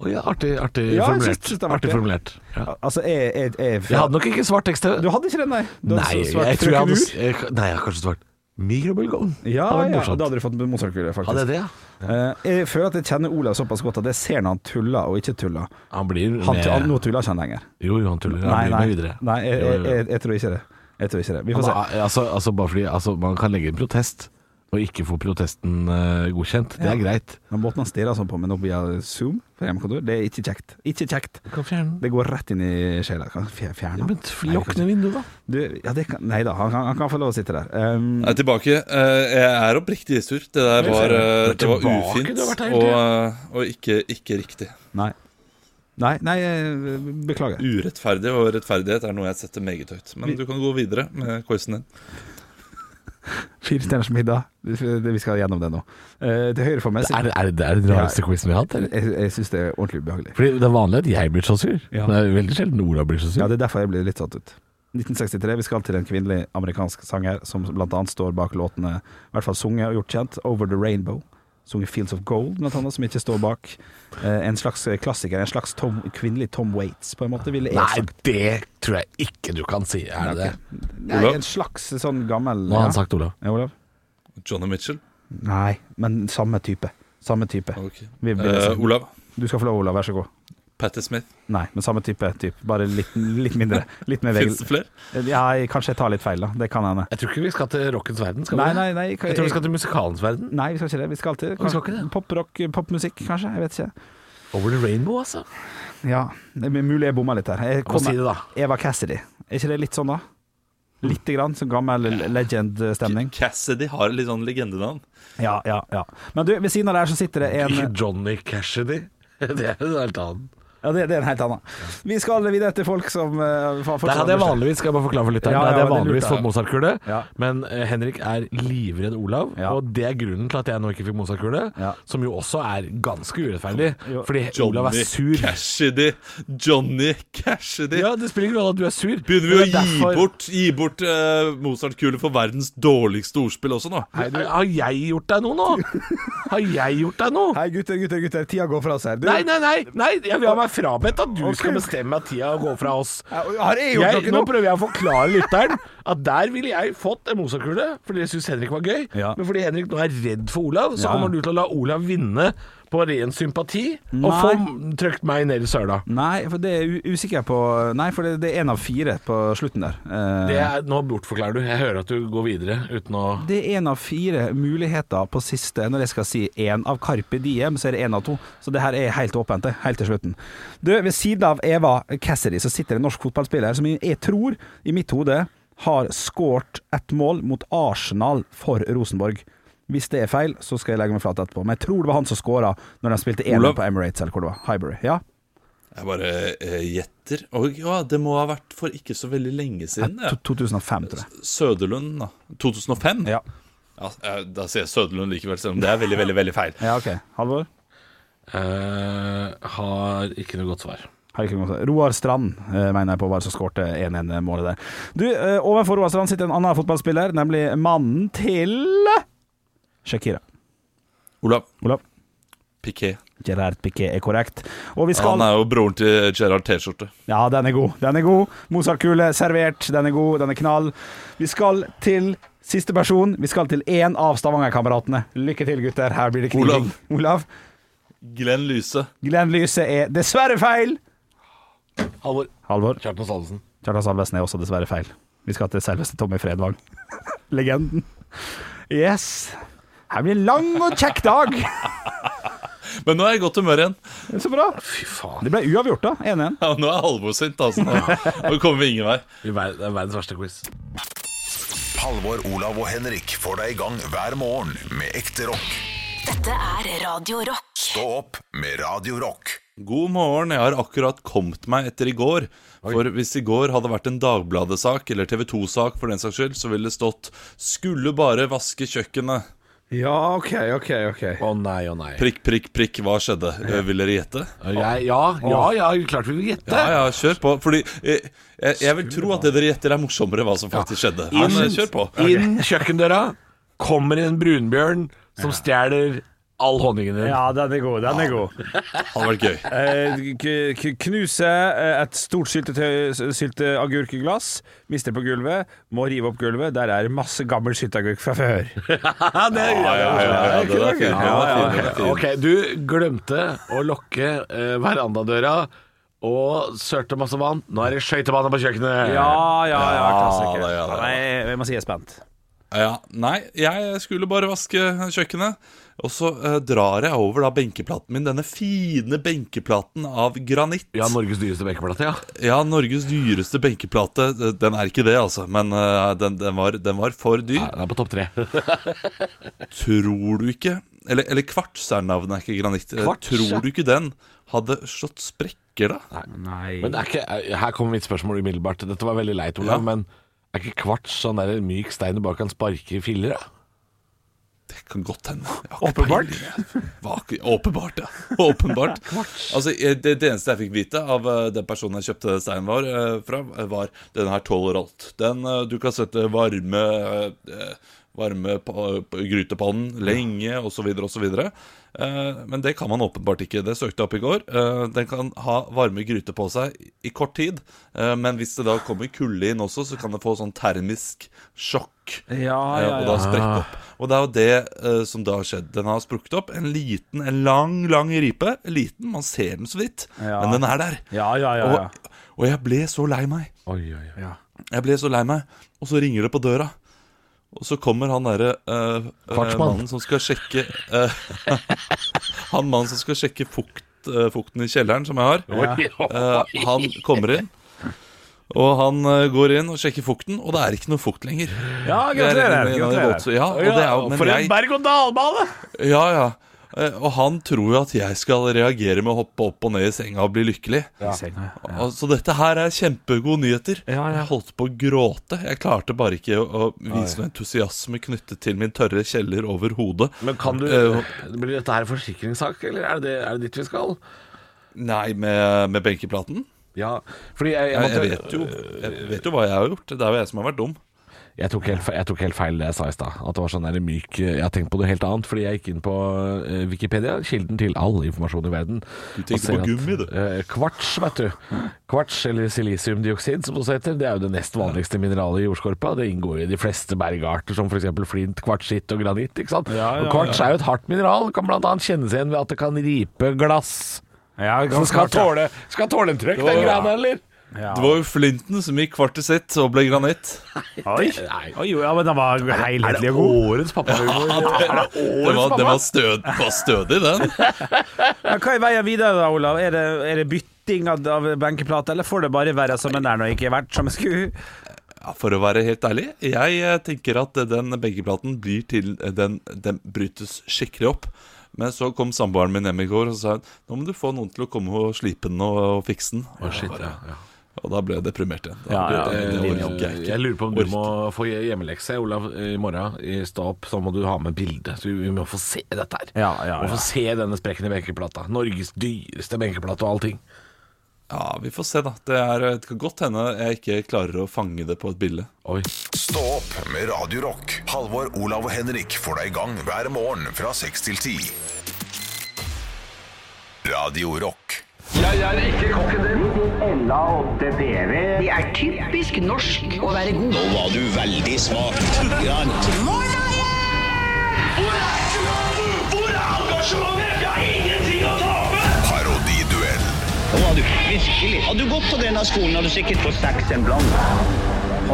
C: Å ja, artig, artig
D: Ja, jeg
C: formulert.
D: synes- synes det var
C: artig
D: artig.
C: formulert. Ja.
D: Al- Altså, jeg, jeg, jeg,
C: Jeg hadde nok ikke svart
D: Du
C: tekst-TV.
D: hadde ikke den, nei? Du hadde
C: Nei,
D: svart
C: jeg tror jeg hadde
D: frøken
C: s- jeg, Nei, jeg har kanskje svart mikrobølgeovn.
D: Ur. Ja,
C: Det hadde vært
D: ja,
C: morsomt.
D: da hadde du fått motorsykkel, faktisk.
C: Hadde jeg det, ja?
D: Eh, jeg føler at jeg kjenner Olav såpass godt at jeg ser når han tuller og ikke tuller.
C: Han blir
D: Han,
C: med
D: han, nå tuller ikke han lenger.
C: Jo, jo, han tuller. Han
D: Nei,
C: blir
D: nei,
C: med videre.
D: nei
C: Jo,
D: jeg,
C: jo,
D: jeg,
C: jo.
D: jeg, jeg tror ikke det. Jeg tror ikke det. Vi får
C: Han
D: se.
C: er- altså, altså, bare fordi altså, man kan legge en protest og ikke få protesten eh, godkjent. Det er greit.
D: Den måten han stirrer sånn på meg nå via Zoom, på hjemmekontor, det er ikke kjekt. Ikke kjekt.
C: Du kan fjerne den.
D: Det går rett inn i sjela. Kan jeg fjer- Fjerne
C: Men
D: den? Nei, jeg kan
C: lukk ned vinduet, da.
D: ikke- Du, ja, det kan, nei da, han, kan- han kan få lov å sitte der. Um,
E: Jeg er tilbake. Eh, Jeg er oppriktig sur. Det der var, eh, det var
C: tilbake,
E: ufint
C: du har vært her
E: og,
C: hele
E: eh, og ikke, ikke riktig.
D: nei. Nei, nei, eh, beklager.
E: Urettferdig og rettferdighet er noe jeg setter meget høyt. Men du kan gå videre med quizen din.
D: Fire stjerners middag. Det- Vi skal gjennom det nå. Eh, til høyre for meg
C: Er, er, det er det den rareste quizen vi har hatt, eller?
D: Jeg, jeg syns det er ordentlig ubehagelig.
C: Fordi Det er vanlig at jeg blir så sur,
D: Ja.
C: men det er veldig sjelden Ola blir så sur.
D: Ja, det er derfor jeg blir litt satt ut. 1963, vi skal til en kvinnelig amerikansk sanger som bl.a. står bak låtene, i hvert fall sunget og gjort kjent, Over the Rainbow. Sunget Fields of Gold, blant annet, som ikke står bak. Eh, en slags klassiker, en slags Tom, kvinnelig Tom Waits, på en måte, ville jeg
C: Nei,
D: sagt.
C: det tror jeg ikke du kan si. Er det det?
D: Nei,
E: Olav?
D: en slags sånn gammel
C: Nå har han sagt Olav.
D: Ja, Olav?
E: Johnny Mitchell.
D: Nei, men samme type. Samme type.
E: Ok.
D: Vi- vi-
E: Eh, Olav.
D: Du skal få lov, Olav, vær så god.
E: Patti Smith.
D: Nei, men samme type. Typ. Bare litt, litt mindre. Litt [laughs] mer
E: Fins
D: regel.
E: det flere?
D: Ja, jeg- kanskje jeg tar litt feil, da. Det kan hende.
C: Jeg tror ikke vi skal til rockens verden. Skal
D: Nei,
C: vi?
D: nei, nei.
C: Jeg tror vi skal til musikalens verden.
D: Nei, vi skal ikke det. Vi skal til
C: vi skal ikke det.
D: poprock, popmusikk, kanskje. Jeg vet ikke.
C: Over the rainbow, altså.
D: Ja, det er Mulig jeg bomma litt her. Jeg
C: Hva sier du da?
D: Eva Cassidy. Er ikke det litt sånn, da? Lite grann sånn gammel legend-stemning.
E: Cassidy har litt sånn legendenavn.
D: Ja, ja, ja. Men du, ved siden av der så sitter det en
C: Ikke Johnny Cassidy. [laughs] Det er jo noe helt annet.
D: Ja, det, det er en helt annen. Vi skal videre til folk som eh, får-
C: Der hadde jeg vanligvis skal jeg bare forklare for lytteren, der
D: Ja, ja,
C: hadde jeg
D: det er lurt,
C: vanligvis
D: ja.
C: fått Mozart-kule,
D: Ja.
C: men eh, Henrik er livredd Olav,
D: Ja.
C: og det er grunnen til at jeg nå ikke fikk Mozart-kule,
D: Ja.
C: som jo også er ganske urettferdig, fordi
E: Johnny
C: Olav er sur.
E: Cassidy. Johnny Cassidy.
C: Ja, det spiller ingen rolle at du er sur.
E: Begynner vi å
C: Det er
E: gi
C: derfor-
E: bort, gi bort eh, Mozart-kule for verdens dårligste ordspill også nå?
C: Hei, du- Har jeg gjort deg noe nå? Har jeg gjort deg noe?
D: Hei, gutter, gutter, gutter. Tida går fra oss her. Du,
C: Nei, nei, nei, nei jeg vil ha meg frabedt at du
D: Ok.
C: skal bestemme at tida går fra oss.
D: Har jeg gjort
C: Jeg, nå
D: noe nå?
C: prøver jeg å forklare lytteren at der ville jeg fått en Mozart-kule, fordi jeg syns Henrik var gøy.
D: Ja.
C: Men fordi Henrik nå er redd for Olav, så
D: Ja.
C: kommer du til å la Olav vinne på ren sympati og
D: Nei.
C: få trøkt meg ned i søla.
D: Nei, for det er jeg u- usikker på Nei, for det, det er én av fire på slutten der. Eh,
C: Det er, nå bortforklarer du. Jeg hører at du går videre uten å
D: Det er én av fire muligheter på siste. Når jeg skal si én av Carpe Diem, så er det én av to. Så det her er helt åpent, det. Helt til slutten. Du, ved siden av Eva Cassidy så sitter det en norsk fotballspiller som jeg tror, i mitt hode, har skåret ett mål mot Arsenal for Rosenborg. Hvis det er feil, så skal jeg legge meg flat etterpå. Men jeg tror det var han som skåra når de spilte 1
E: Olav?
D: på Emirates, eller hvor det var. Highbury. Ja?
E: Jeg bare eh, gjetter. Og ja, det må ha vært for ikke så veldig lenge siden.
D: Nei,
E: Ja.
D: to- 2005, tror jeg.
E: Søderlund, da. 2005?
D: Ja,
E: Ja, eh, da sier jeg Søderlund likevel, selv om det er veldig, veldig veldig feil.
D: ja ok. Halvor?
C: Eh, har ikke noe godt svar.
D: Har ikke noe å si. altså. Roar Strand eh, mener jeg på var som skårte 1-1-målet der. Du, eh, Overfor Roar Strand sitter en annen fotballspiller, nemlig mannen til Shakira.
E: Olav
D: Olav?
E: Piqué.
D: Gerard Piquet er korrekt. Og vi skal
E: Han er jo broren til Gerard T-skjorte.
D: Ja, den er god. Den er god. Mozart-kule servert. Den er god. Den er knall. Vi skal til siste person. Vi skal til én av Stavanger-kameratene. Lykke til, gutter. Her blir det kniving. Olav.
E: Glenn Lyse.
D: Glenn Lyse er dessverre feil.
C: Halvor.
D: Halvor.
C: Kjartan Salvesen.
D: Kjartan Salvesen er også dessverre feil. Vi skal til selveste
I: [laughs]
D: Tommy Fredvang. Legenden. Yes. Her blir en lang og kjekk dag.
E: Men nå er jeg i godt humør igjen.
D: Så bra.
C: Fy faen.
D: Det ble uavgjort, da. 1-1.
E: Ja, nå er Halvor sint, altså. Nå, nå kommer vi ingen vei.
C: Det er verdens verste quiz.
A: Halvor, Olav og Henrik får deg i gang hver morgen med ekte rock.
B: Dette er Radio Rock.
A: Stå opp med Radio Rock.
E: God morgen, jeg har akkurat kommet meg etter i går. For hvis i går hadde vært en Dagbladet-sak, eller TV 2-sak for den saks skyld, så ville det stått 'Skulle bare vaske kjøkkenet'.
I: Ja, OK, OK. ok
C: Å nei, å nei.
E: Prikk, prikk, prikk, hva skjedde? Eh, Vil dere gjette?
C: Jeg, ja, ja, ja, klart vi vil gjette.
E: Ja, ja, kjør på. Fordi eh, jeg, jeg vil tro at det dere gjetter, er morsommere hva som faktisk skjedde. Men eh, kjør på.
C: Inn kjøkkendøra kommer en brunbjørn som stjeler all honningen din.
I: Ja, den er god. Den er god.
E: Hadde vært gøy.
I: [laughs] Eh, k- k- knuse eh, et stort syltetøy- s- sylteagurkeglass, mister på gulvet, må rive opp gulvet. Der er masse gammel sylteagurk fra før.
E: Ja, ja, ja, ja, det er fint. Ja, det er fint, det er fint.
C: Ok, du glemte å lokke eh, verandadøra og sørte masse vann. Nå er det skøytebaner på kjøkkenet.
I: Ja, ja, ja,
E: Ja, det er- ja, det er-
I: Nei, jeg må si jeg er spent.
E: Ja, nei, jeg skulle bare vaske kjøkkenet. Og så eh, drar jeg over da benkeplaten min, denne fine benkeplaten av granitt.
C: Ja, Norges dyreste benkeplate, ja.
E: Ja, Norges dyreste benkeplate. Den er ikke det, altså, men eh, den, den, var, den var for dyr.
C: Den er på topp tre.
E: Tror du ikke Eller, eller kvarts er navnet, er ikke granitt. Eh,
C: Kvarts, ja.
E: Tror du ikke den hadde slått sprekker, da?
C: Men det er ikke, eh, her kommer mitt spørsmål umiddelbart. Dette var veldig leit, Olav,
E: Ja.
C: men er ikke kvarts sånn der en myk stein du bare kan sparke i filler? da?
E: Det kan godt hende. Jeg har ikke peiling, jeg. Hva, åpenbart, ja. [laughs] Åpenbart. altså, eh, det, det eneste jeg fikk vite av eh, den personen jeg kjøpte steinen var, eh, fra, eh, var den her tåler alt. Den eh, du kan sette varme eh, Varme på, på grytepannen lenge, osv., osv. Eh, men det kan man åpenbart ikke. Det søkte jeg opp i går. Eh, den kan ha varme gryter på seg i kort tid, eh, men hvis det da kommer kulde inn også, så kan det få sånn termisk sjokk.
I: Ja,
E: Eh, Og da sprekke opp. Og det er jo det eh, som da har skjedd. Den har sprukket opp. En liten, en lang, lang ripe. Liten, man ser den så vidt,
I: Ja.
E: men den er der.
I: Ja, ja, ja. ja.
E: Og, og jeg ble så lei meg. Jeg ble så lei meg, og så ringer det på døra. Og så kommer han derre eh, eh,
C: Fartsmann.
E: mannen som skal sjekke eh, [laughs] Han mannen som skal sjekke fukt, eh, fukten i kjelleren, som jeg har. Eh, han kommer inn, og han eh, går inn og sjekker fukten, og det er ikke noe fukt lenger.
I: Ja,
E: Det er en-
I: gratulerer.
E: en av de
I: gratulerer.
E: våteste- Ja, og det er jo, men jeg,
I: berg-og-dal-bane!
E: ja, ja. Eh, Og han tror jo at jeg skal reagere med å hoppe opp og ned i senga og bli lykkelig. Og- Så dette her er kjempegode nyheter. Jeg holdt på å gråte. Jeg klarte bare ikke å å vise noe entusiasme knyttet til min tørre kjeller over hodet.
C: Men kan du
E: Eh,
C: Blir dette her en forsikringssak, eller er det, er det dit vi skal?
E: Nei, med, med benkeplaten.
C: Ja, fordi jeg, jeg,
E: Jeg,
C: måtte,
E: jeg, vet jo, jeg vet jo hva jeg har gjort. Det er jo jeg som har vært dum.
C: Jeg tok, helt, fe- jeg tok helt feil det jeg sa i stad. At det var sånn der myk eh, Jeg har tenkt på noe helt annet, fordi jeg gikk inn på eh, Wikipedia, kilden til all informasjon i verden. Du
E: tenkte på gummi, du.
C: eh, kvarts, vet du. Kvarts, eller silisiumdioksid som det også heter, det er jo det nest vanligste mineralet i jordskorpa. Det inngår jo i de fleste bergarter, som f.eks. flint, kvartsitt og granitt. ikke sant?
I: ja,
C: og kvarts er jo et hardt mineral, kan bl.a. kjennes igjen ved at det kan ripe glass.
I: Ja,
C: Så
I: ganske
C: skal
I: klart, ja.
C: tåle, skal tåle en trøkk, den greia der, eller?
E: Det var jo flinten som gikk kvartet sitt og ble granitt.
I: Oi.
C: Nei.
I: Oi, jo, ja, men den var
C: Er
I: helhetlig
C: det
I: og god.
C: årets pappahumor?
E: Det var, det var, stød, var stødig, den.
I: Ja, hva er veien videre, da, Olav? Er det, er det bytting av, av benkeplate, eller får det bare være som den er når det ikke har vært som det skulle?
E: Ja, For å være helt ærlig, eh, jeg eh, tenker at den benkeplaten blir til den, den brytes skikkelig opp. Men så kom samboeren min hjem i går og sa hun, nå må du få noen til å komme og slipe den og, og fikse den.
C: Å, shit, ja, ja.
E: Og da ble jeg deprimert igjen. Da
C: Ja,
E: ble-
C: ja,
E: det, det orker jeg
C: jeg,
E: ikke.
C: lurer på om du
E: Orker.
C: må få hjemmelekse, Olav, i morgen. I Stå opp, så må du ha med bilde. Så vi må få se dette her.
I: Ja, ja,
C: Vi
I: ja.
C: må få se denne sprekken i benkeplata. Norges dyreste benkeplate og allting.
E: Ja, vi får se, da. Det, er, eh, det kan godt hende jeg ikke klarer å fange det på et bilde.
C: Oi.
A: Stå opp med Radio Rock. Halvor, Olav og Henrik får deg i gang hver morgen fra 6 til 10. Radio Rock. Parodiduell.
D: Og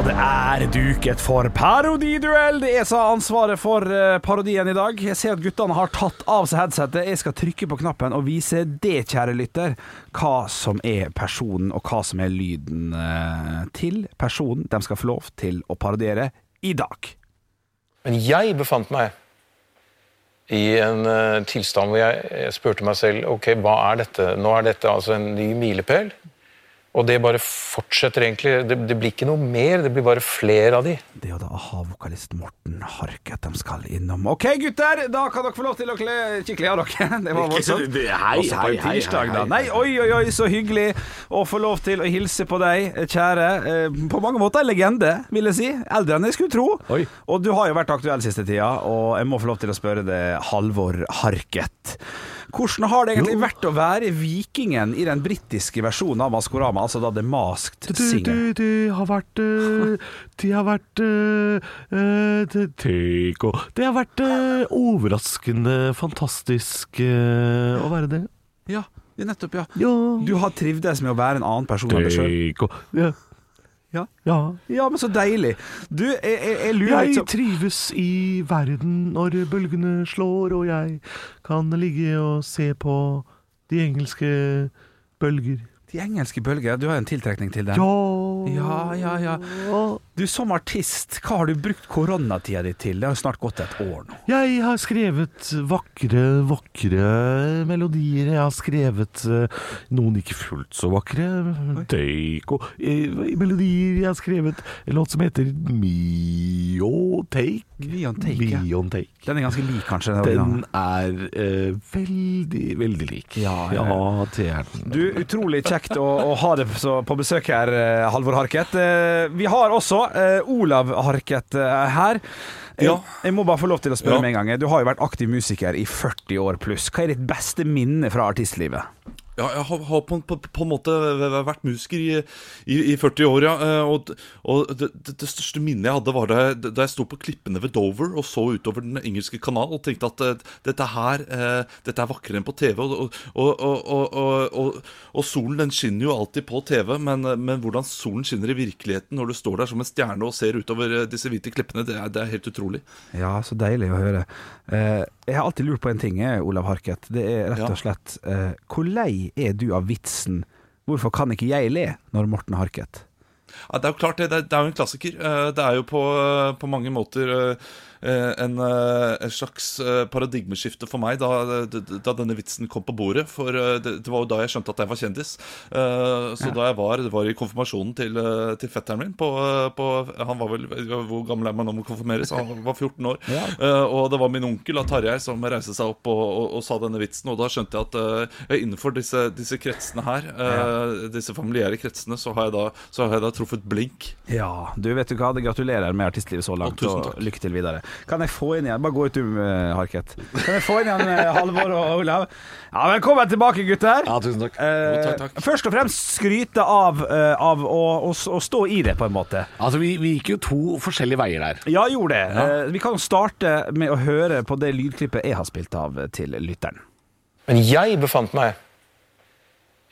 D: det er duket for parodiduell! Det er som har ansvaret for eh, parodien i dag. Jeg ser at guttene har tatt av seg headsetet. Jeg skal trykke på knappen og vise det, kjære lytter, hva som er personen, og hva som er lyden eh, til personen de skal få lov til å parodiere i dag.
J: Men jeg befant meg i en eh, tilstand hvor jeg, jeg spurte meg selv ok, hva er dette? Nå er dette altså en ny milepæl. Og det bare fortsetter egentlig. Det, det blir ikke noe mer, det blir bare flere av de.
D: Det er jo da a-ha-vokalist Morten Harket de skal innom. OK, gutter, da kan dere få lov til å kle, kikke av dere. [laughs] Det var voldsomt.
C: det- hei,
D: Også på en
C: hei, hei,
D: tirsdag,
C: hei,
D: da.
C: hei.
D: Nei, oi, oi, oi, så hyggelig å få lov til å hilse på deg, kjære. Eh, På mange måter en legende, vil jeg si. Eldre enn jeg skulle tro.
C: Oi.
D: Og du har jo vært aktuell siste tida, og jeg må få lov til å spørre deg, Halvor Harket. Hvordan har det egentlig vært å være vikingen i den britiske versjonen av Maskorama, altså da The Masked Singer?
C: det har vært [laughs] eh, Det har vært eh, eh, det- tenk og- Det har vært eh, overraskende fantastisk eh, å være det.
D: Ja, nettopp, ja.
C: Ja.
D: Du har trivdes med å være en annen person enn deg sjøl?
C: Tenk og ja.
D: Ja.
C: ja.
D: Ja, men så deilig. Du, jeg, jeg, jeg lurer
C: Jeg
D: litt så-
C: trives i verden når bølgene slår, og jeg kan ligge og se på de engelske bølger.
D: De engelske bølger, du har en tiltrekning til dem?
C: Ja
D: Ja, ja, ja. Du, som artist, hva har du brukt koronatida di til? Det har jo snart gått et år nå.
C: Jeg har skrevet vakre, vakre melodier. Jeg har skrevet eh, [laughs] noen ikke fullt så vakre take og eh, melodier. Jeg har skrevet en låt som heter Mio Take.
D: Mio Take, ja.
C: Mio Take.
D: Den er ganske lik, kanskje? Den
C: Den
D: originale.
C: er eh, veldig, veldig lik.
D: Ja, ja, ja.
C: det er den.
D: Du, utrolig kjekt å, å ha deg så- på besøk her, eh, Halvor Harket. Eh, Vi har også eh, Olav Harket eh, her. Jeg,
E: Ja.
D: jeg må bare få lov til å spørre
E: Ja.
D: med en gang. Du har jo vært aktiv musiker i 40 år pluss. Hva er ditt beste minne fra artistlivet?
E: Ja, jeg har, har på, på, på en måte vært musiker i, i, i 40 år, ja. eh, Og, og det, det- det største minnet jeg hadde, var da jeg, da jeg sto på klippene ved Dover og så utover Den engelske kanal og tenkte at eh, dette her eh, Dette er vakrere enn på TV. Og, og, og, og, og, og, og solen den skinner jo alltid på TV, men, eh, men hvordan solen skinner i virkeligheten når du står der som en stjerne og ser utover eh, disse hvite klippene, det er, det er helt utrolig.
D: Ja, så deilig å høre. Eh, jeg har alltid lurt på en ting, jeg, Olav Harket. Det er rett
E: Ja.
D: og slett eh, Hvor lei er du av vitsen 'Hvorfor kan ikke jeg le?' når Morten Harket
E: Ja, det er jo klart det. Det er, det er jo en klassiker. Eh, Det er jo på, eh, på mange måter eh, en, eh, en slags eh, paradigmeskifte for meg da, da denne vitsen kom på bordet. For eh, det, det var jo da jeg skjønte at jeg var kjendis. Eh, Så da jeg var, det var i konfirmasjonen til, eh, til fetteren min på, eh, på Han var vel Hvor gammel er man når man konfirmeres? Han var 14 år. Eh, Og det var min onkel, da, Tarjei, som reiste seg opp og, og, og sa denne vitsen. Og da skjønte jeg at eh, innenfor disse, disse kretsene her, eh, disse familiære kretsene, så har jeg da, så har jeg da truffet blink.
D: Ja, du vet du hva, det gratulerer med artistlivet så langt,
E: tusen
D: og
E: takk.
D: lykke til videre. Kan jeg få inn igjen Bare gå ut, du, eh, Harket. Kan jeg få inn igjen eh, Halvor og Olav? Ja, velkommen tilbake, gutter.
C: Ja, tusen takk.
D: Eh,
E: Jo, takk, takk.
D: Først og fremst skryte av, eh, av å, å, å stå i det, på en måte.
C: Altså, vi, vi gikk jo to forskjellige veier her.
D: Ja, gjorde det. Eh, Vi kan jo starte med å høre på det lydklippet jeg har spilt av eh, til lytteren.
J: Men jeg befant meg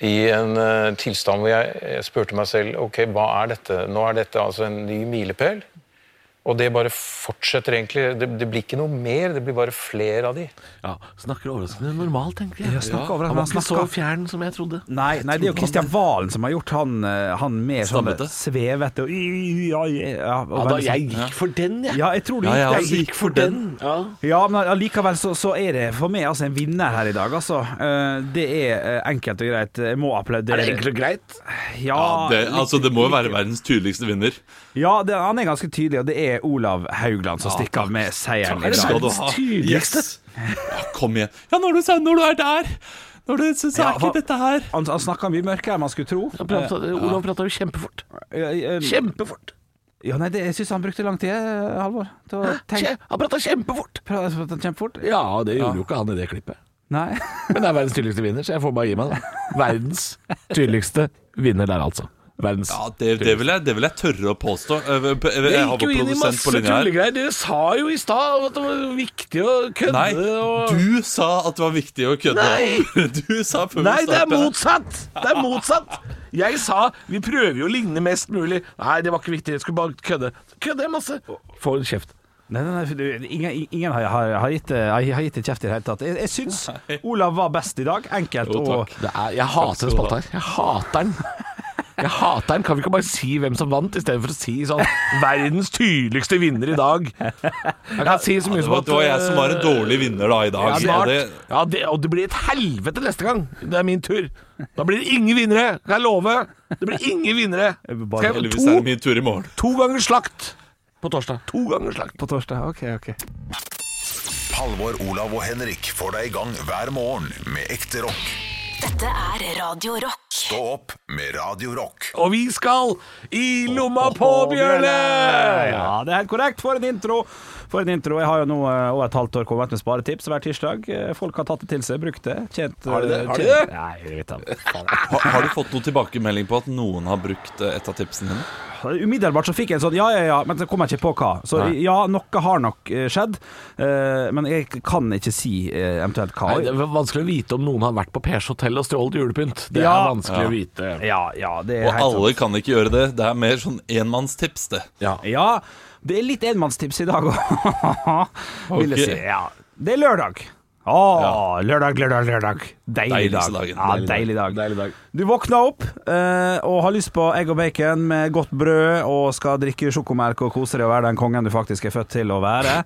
J: i en eh, tilstand hvor jeg, jeg spurte meg selv ok, hva er dette? Nå er dette altså en ny milepæl. Og det bare fortsetter egentlig. Det, det blir ikke noe mer, det blir bare flere av de.
C: Ja, Snakker overraskende normalt, tenker jeg.
D: Jeg snakker over
C: Han
D: han,
C: var
D: han
C: ikke så
D: snakker.
C: fjern som jeg trodde.
D: Nei, nei, det er jo Kristian Valen som har gjort han, eh, han mer sånn
E: Stammete.
D: svevete og ja, ja, og
C: Ja, da,
D: veldig sånn-
C: jeg gikk altså, for den, jeg.
D: ja, jeg tror du
E: Ja, jeg
D: gikk
E: også gikk for den.
C: Ja.
D: Ja, men allikevel så, så er det for meg altså en vinner her i dag, altså. Eh, Det er eh, enkelt og greit. Jeg må applaudere.
C: Er det enkelt og greit?
D: Ja,
E: Ja, det,
D: Ah, litt-
E: altså, det må jo være verdens tydeligste vinner.
D: ja det, han er ganske tydelig, og det er Olav Haugland som stikker av med seieren. i
E: Det
D: dag.
E: skal du ha. Yes. Ja, kom igjen. Ja, når du, sa- når du er der Når du så, så
D: Ja,
E: er
D: hva-
E: ikke dette her
D: Han, han snakka mye mørkere enn man skulle tro.
C: Han pratet- Olav prata jo kjempefort.
D: Eh, eh,
C: Kjempefort!
D: Ja, nei, det, jeg syns han brukte lang tid, eh, Halvor. Til å tenke
C: Kje, han prata kjempefort!
D: pra- pra- kjempefort.
C: Ja, det gjorde jo ikke han i det klippet.
D: Nei. [laughs]
C: Men det er verdens tydeligste vinner, så jeg får bare gi meg, da. Verdens tydeligste vinner der, altså. Verdens
E: Ja, det, det, vil jeg, det vil jeg tørre å påstå. Jeg, jeg, jeg, jeg har vår produsent på linja her.
C: Dere sa jo i stad at det var viktig å kødde
E: Nei, du sa at det var viktig å kødde.
C: Nei.
E: [laughs] Du sa før vi
C: Nei, det er
E: startet.
C: motsatt! Det er motsatt! Jeg sa vi prøver jo å ligne mest mulig. Nei, det var ikke viktig, jeg skulle bare kødde. Kødde jeg masse. Få en kjeft.
D: Nei, nei, nei, for du, ingen, ingen har, har, har gitt eh, har, har gitt det kjeft i det hele tatt. Jeg, jeg syns Olav var best i dag. Enkelt
E: Jo,
D: og
E: takk.
C: Det er, jeg hater den spalta her. Jeg hater den. Jeg hater den. Kan vi ikke bare si hvem som vant, istedenfor å si sånn 'verdens tydeligste vinner i dag'? Jeg kan si så mye
E: Det
C: som
E: var,
C: at eh,
E: det var jeg som var en dårlig vinner da i dag.
C: ja,
E: og
C: smart.
E: det,
C: Ja, det, og det blir et helvete neste gang. Det er min tur. Da blir det ingen vinnere, kan jeg love. Det blir ingen vinnere. Skal jeg,
E: heldigvis er det
C: to,
E: min tur i morgen.
C: to ganger slakt på torsdag. To ganger slakt.
D: På torsdag. OK, OK.
A: Halvor, Olav og Henrik får deg i gang hver morgen med ekte rock.
B: Dette er Radio Rock.
A: Stå opp med Radio Rock.
C: Og vi skal i lomma på bjørnet! Ja.
D: Ja, det er helt korrekt. For en intro! For en intro. Jeg har jo nå eh, over et halvt år kommet med sparetips hver tirsdag. Eh, Folk har tatt det til seg, brukt det. Tjent,
C: Har de det?
D: eh,
C: Har de
D: tjent-
C: det?
D: Nei, jeg vet ikke.
E: Har, har du fått noen tilbakemelding på at noen har brukt eh, et av tipsene dine?
D: Umiddelbart så fikk jeg en sånn ja, ja, ja, men så kom jeg ikke på hva. Så ja, noe har nok eh, skjedd, eh, men jeg kan ikke si eh, eventuelt hva.
C: Nei, det er vanskelig å vite om noen har vært på Pers hotell og stjålet julepynt. Det
D: Ja.
C: er vanskelig å vite.
D: ja, ja, det er
E: Og
D: helt
E: alle kan ikke gjøre det. Det er mer sånn enmannstips, det.
D: sant. Ja, det er litt enmannstips i dag òg, [laughs] vil jeg
E: Ok.
D: si. Ja. Det er lørdag. Å, lørdag, lørdag, lørdag. Deilig
E: Deiligste
D: dag.
E: dagen.
D: Ja, deilig dag. Du våkna opp eh, og har lyst på egg og bacon med godt brød og skal drikke sjokomelk og kose deg og være den kongen du faktisk er født til å være.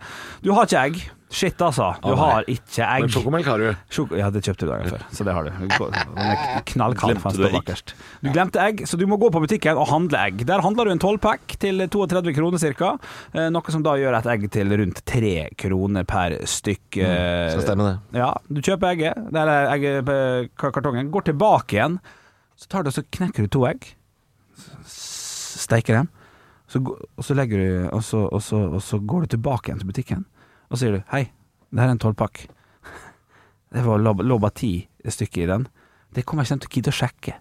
D: Du har ikke egg. Shit, altså. Du
C: Å, nei.
D: har ikke
C: Men
D: egg.
C: sjokomelk har du.
D: Sjoko ja, det kjøpte du dagen før, så det har du. Den er knallkald.
E: Glemte
D: fanns
E: du
D: det
E: egg?
D: bakerst. Du glemte egg, så du må gå på butikken og handle egg. Der handler du en 12-pack til 32 kroner ca., noe som da gjør et egg til rundt 3 kroner per stykk. eh,
C: Skal stemme det.
D: ja, du kjøper egget, eller egget, eh, ka- kartongen, går tilbake igjen, så tar du og så knekker du to egg, s- steiker dem, så, gå- og så legger du, og så, og, så, og så går du tilbake igjen til butikken, og så sier du, hei, det her er en tolvpakk. [laughs] Det var lob- lobba ti stykker i den. Det kommer jeg ikke til å gidde å sjekke.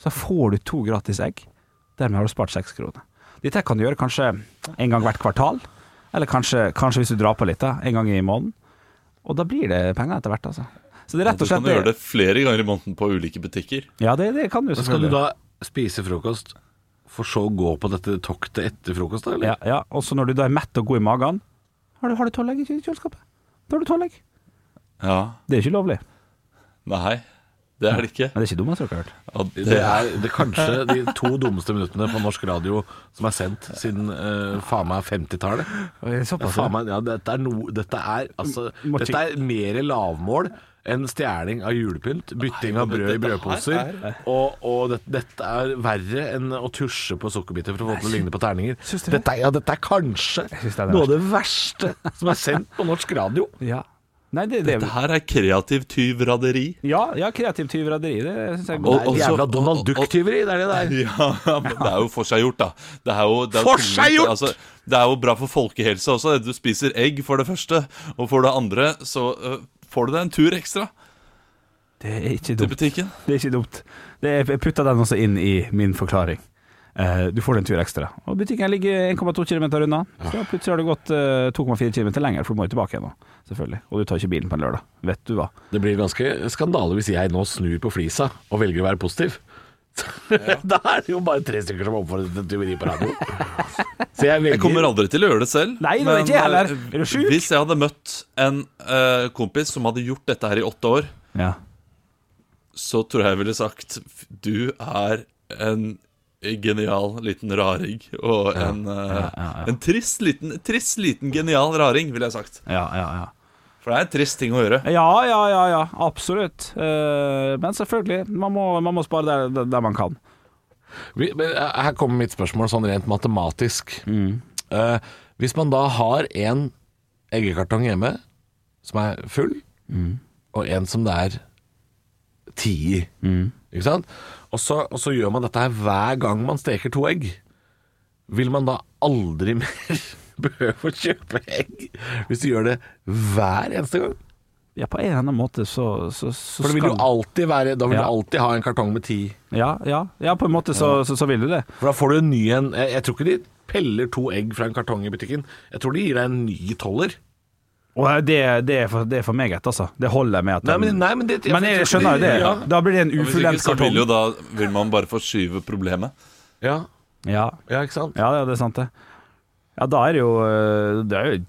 D: Så får du to gratis egg. Dermed har du spart seks kroner. Dette her kan du gjøre kanskje en gang hvert kvartal, eller kanskje, kanskje hvis du drar på litt, da, en gang i måneden. Og da blir det penger etter hvert, altså. Så det er rett
E: Du
D: og slett
E: kan gjøre det flere ganger i måneden på ulike butikker.
D: Ja, det, det kan du
C: Skal du
D: selvfølgelig.
C: da spise frokost, for så å gå på dette toktet etter frokost, da? Eller?
D: Ja, ja. Og så når du da er mett og god i magen, har du, har du tolv egg i kjøleskapet. Da har du tolv egg.
E: Ja,
D: Det er ikke lovlig.
E: Nei, det er det ikke.
D: Men det er ikke dummest dere har hørt.
E: Ja, det,
C: Det er det er kanskje de to dummeste minuttene på norsk radio som er sendt siden eh, faen meg 50-tallet. Ja,
D: Såpass,
C: faen meg, ja, dette er no, Dette er altså
D: M- må
C: Dette er mer lavmål enn stjeling av julepynt, bytting av brød i brødposer, og, og det, dette er verre enn å tusje på sukkerbiter for å få det til å ligne på terninger.
D: Syns
C: Dette
D: du det?
C: er, ja, dette er kanskje
D: syns det er det
C: noe av det verste som er sendt på norsk radio.
D: Ja. Nei, det, det,
E: det her er kreativ tyvraderi.
D: ja, ja, kreativt tyvraderi, det syns jeg er
E: Og-
D: godt.
C: Det er
E: også-
C: jævla Donald
E: og- og-
C: Duck-tyveri, det er det der.
E: [laughs] Ja, men det er jo forseggjort, da. Det er jo, det er jo
C: Forseggjort!
E: tungvint, det er jo bra for folkehelsa også. Du spiser egg for det første, og for det andre så øh, får du deg en tur ekstra
D: Det er ikke
E: til
D: dumt.
E: butikken.
D: Det er ikke dumt. Det er, jeg putta den også inn i min forklaring. Eh, du får en tur ekstra. Og butikken ligger 1,2 km unna. Så da plutselig har du gått eh, 2,4 km lenger, for du må jo tilbake igjen nå, selvfølgelig. Og du tar ikke bilen på en lørdag. Vet du hva.
C: Det blir ganske skandale hvis jeg nå snur på flisa og velger å være [laughs] positiv. da er det jo bare tre stykker som oppfordrer til tyveri på radio. [laughs] Så jeg
E: Jeg kommer
C: velger
E: aldri til å gjøre det selv.
D: Nei, det er ikke jeg heller.
E: eh,
D: Er du sjuk?
E: Hvis jeg hadde møtt en eh, kompis som hadde gjort dette her i åtte år,
D: Ja.
E: så tror jeg jeg ville sagt Du er en genial liten raring. Og en, eh, en trist, liten, trist liten genial raring, ville jeg sagt.
D: Ja, ja, ja.
E: For det er en trist ting å gjøre.
D: ja, ja, ja, ja. Absolutt. Eh, men selvfølgelig, man må, man må spare der, der- der man kan.
C: Vi- men, eh, Her kommer mitt spørsmål sånn rent matematisk. Eh, hvis man da har en eggekartong hjemme som er full, og en som det er ti i, ikke sant? Og så, og så gjør man dette her hver gang man steker to egg. Vil man da aldri [laughs] mer behøve å kjøpe egg hvis du gjør det hver eneste gang?
D: Ja, på en eller annen måte så, så, så
C: For det vil jo
D: skal-
C: alltid være, da vil
D: Ja.
C: du alltid ha en kartong med ti.
D: ja, ja, ja, på en måte så, så, så vil du det.
C: For da får du en ny en. Jeg, jeg tror ikke de peller to egg fra en kartong i butikken. Jeg tror de gir deg en ny toller.
D: Og det, det, er, for, det er for meget, altså. Det holder med at
C: Nei,
D: den-
C: men, nei, men, det,
D: Men jeg skjønner jo det.
C: Ja.
D: Da blir det en
E: Og Hvis ikke
D: ufullendt
E: så vil, jo
D: kartong.
E: da, vil man bare forskyve problemet.
C: Ja,
D: Ja,
C: ja, ikke sant?
D: ja, ja, det er sant, det. Ja, da er det jo øh, Det er jo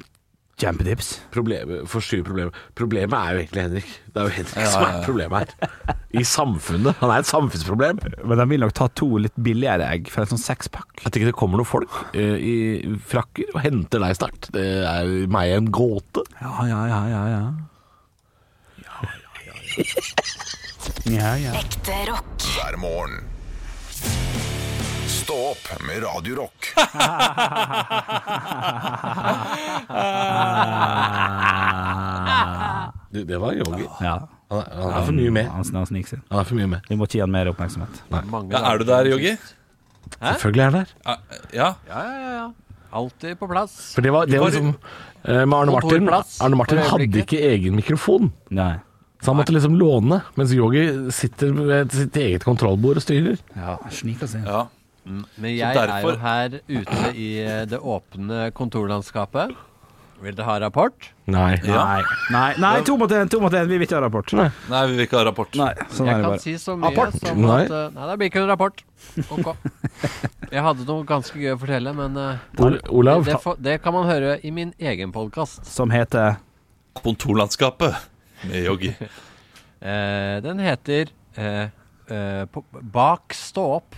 D: kjempetips.
C: Problemet, forskyver problemet. Problemet er jo egentlig Henrik. Det er jo Henrik som er problemet her. I samfunnet. Han er et samfunnsproblem.
D: Men de vil nok ta to litt billigere egg for en sånn sekspakk.
C: At ikke det kommer noen folk eh, i frakker og henter deg snart, det er jo meg en gåte.
D: Ja, ja, ja, ja, ja. Ja, ja.
B: Ekte rock.
A: hver morgen. Stå opp med Radio Rock.
C: Du, det var Yogi.
D: ja.
C: Han, er- han er for mye med.
D: Han, han sniker seg.
C: Han er for mye med.
D: Vi må ikke gi han mer oppmerksomhet.
K: Mange
E: Ja, er du der, Yogi?
C: Selvfølgelig er han der.
E: Ja, Ja.
K: Ja, ja, ja. Alltid på plass.
C: For det var, det var
K: Bare-
C: liksom eh, Med Arne Martin
K: Kontorplass
C: Arne Martin
K: for
C: hadde
K: øyeblikket.
C: ikke egen mikrofon.
D: Nei.
C: Så han måtte liksom låne, mens Yogi sitter ved sitt eget kontrollbord og styrer.
D: Sniker seg.
E: ja.
K: Men jeg
E: derfor-
K: er jo her ute i eh, det åpne kontorlandskapet. Vil dere ha rapport?
C: Nei.
D: Nei. Nei, nei, to mot én, to mot én. Vi vil ikke ha rapport. Nei,
E: Nei, vi vil ikke ha rapport.
D: sånn
K: jeg
D: er det
K: kan
D: bare.
K: si så mye
C: Rapport?
K: som
C: Nei.
K: at eh, Nei, det blir ikke en rapport. Ok. Jeg hadde noe ganske gøy å fortelle, men eh,
C: Ol Olav,
K: det, får- det kan man høre i min egen podkast.
D: Som heter
E: Kontorlandskapet med Yogi.
K: den heter eh, eh, på, Bak stå opp.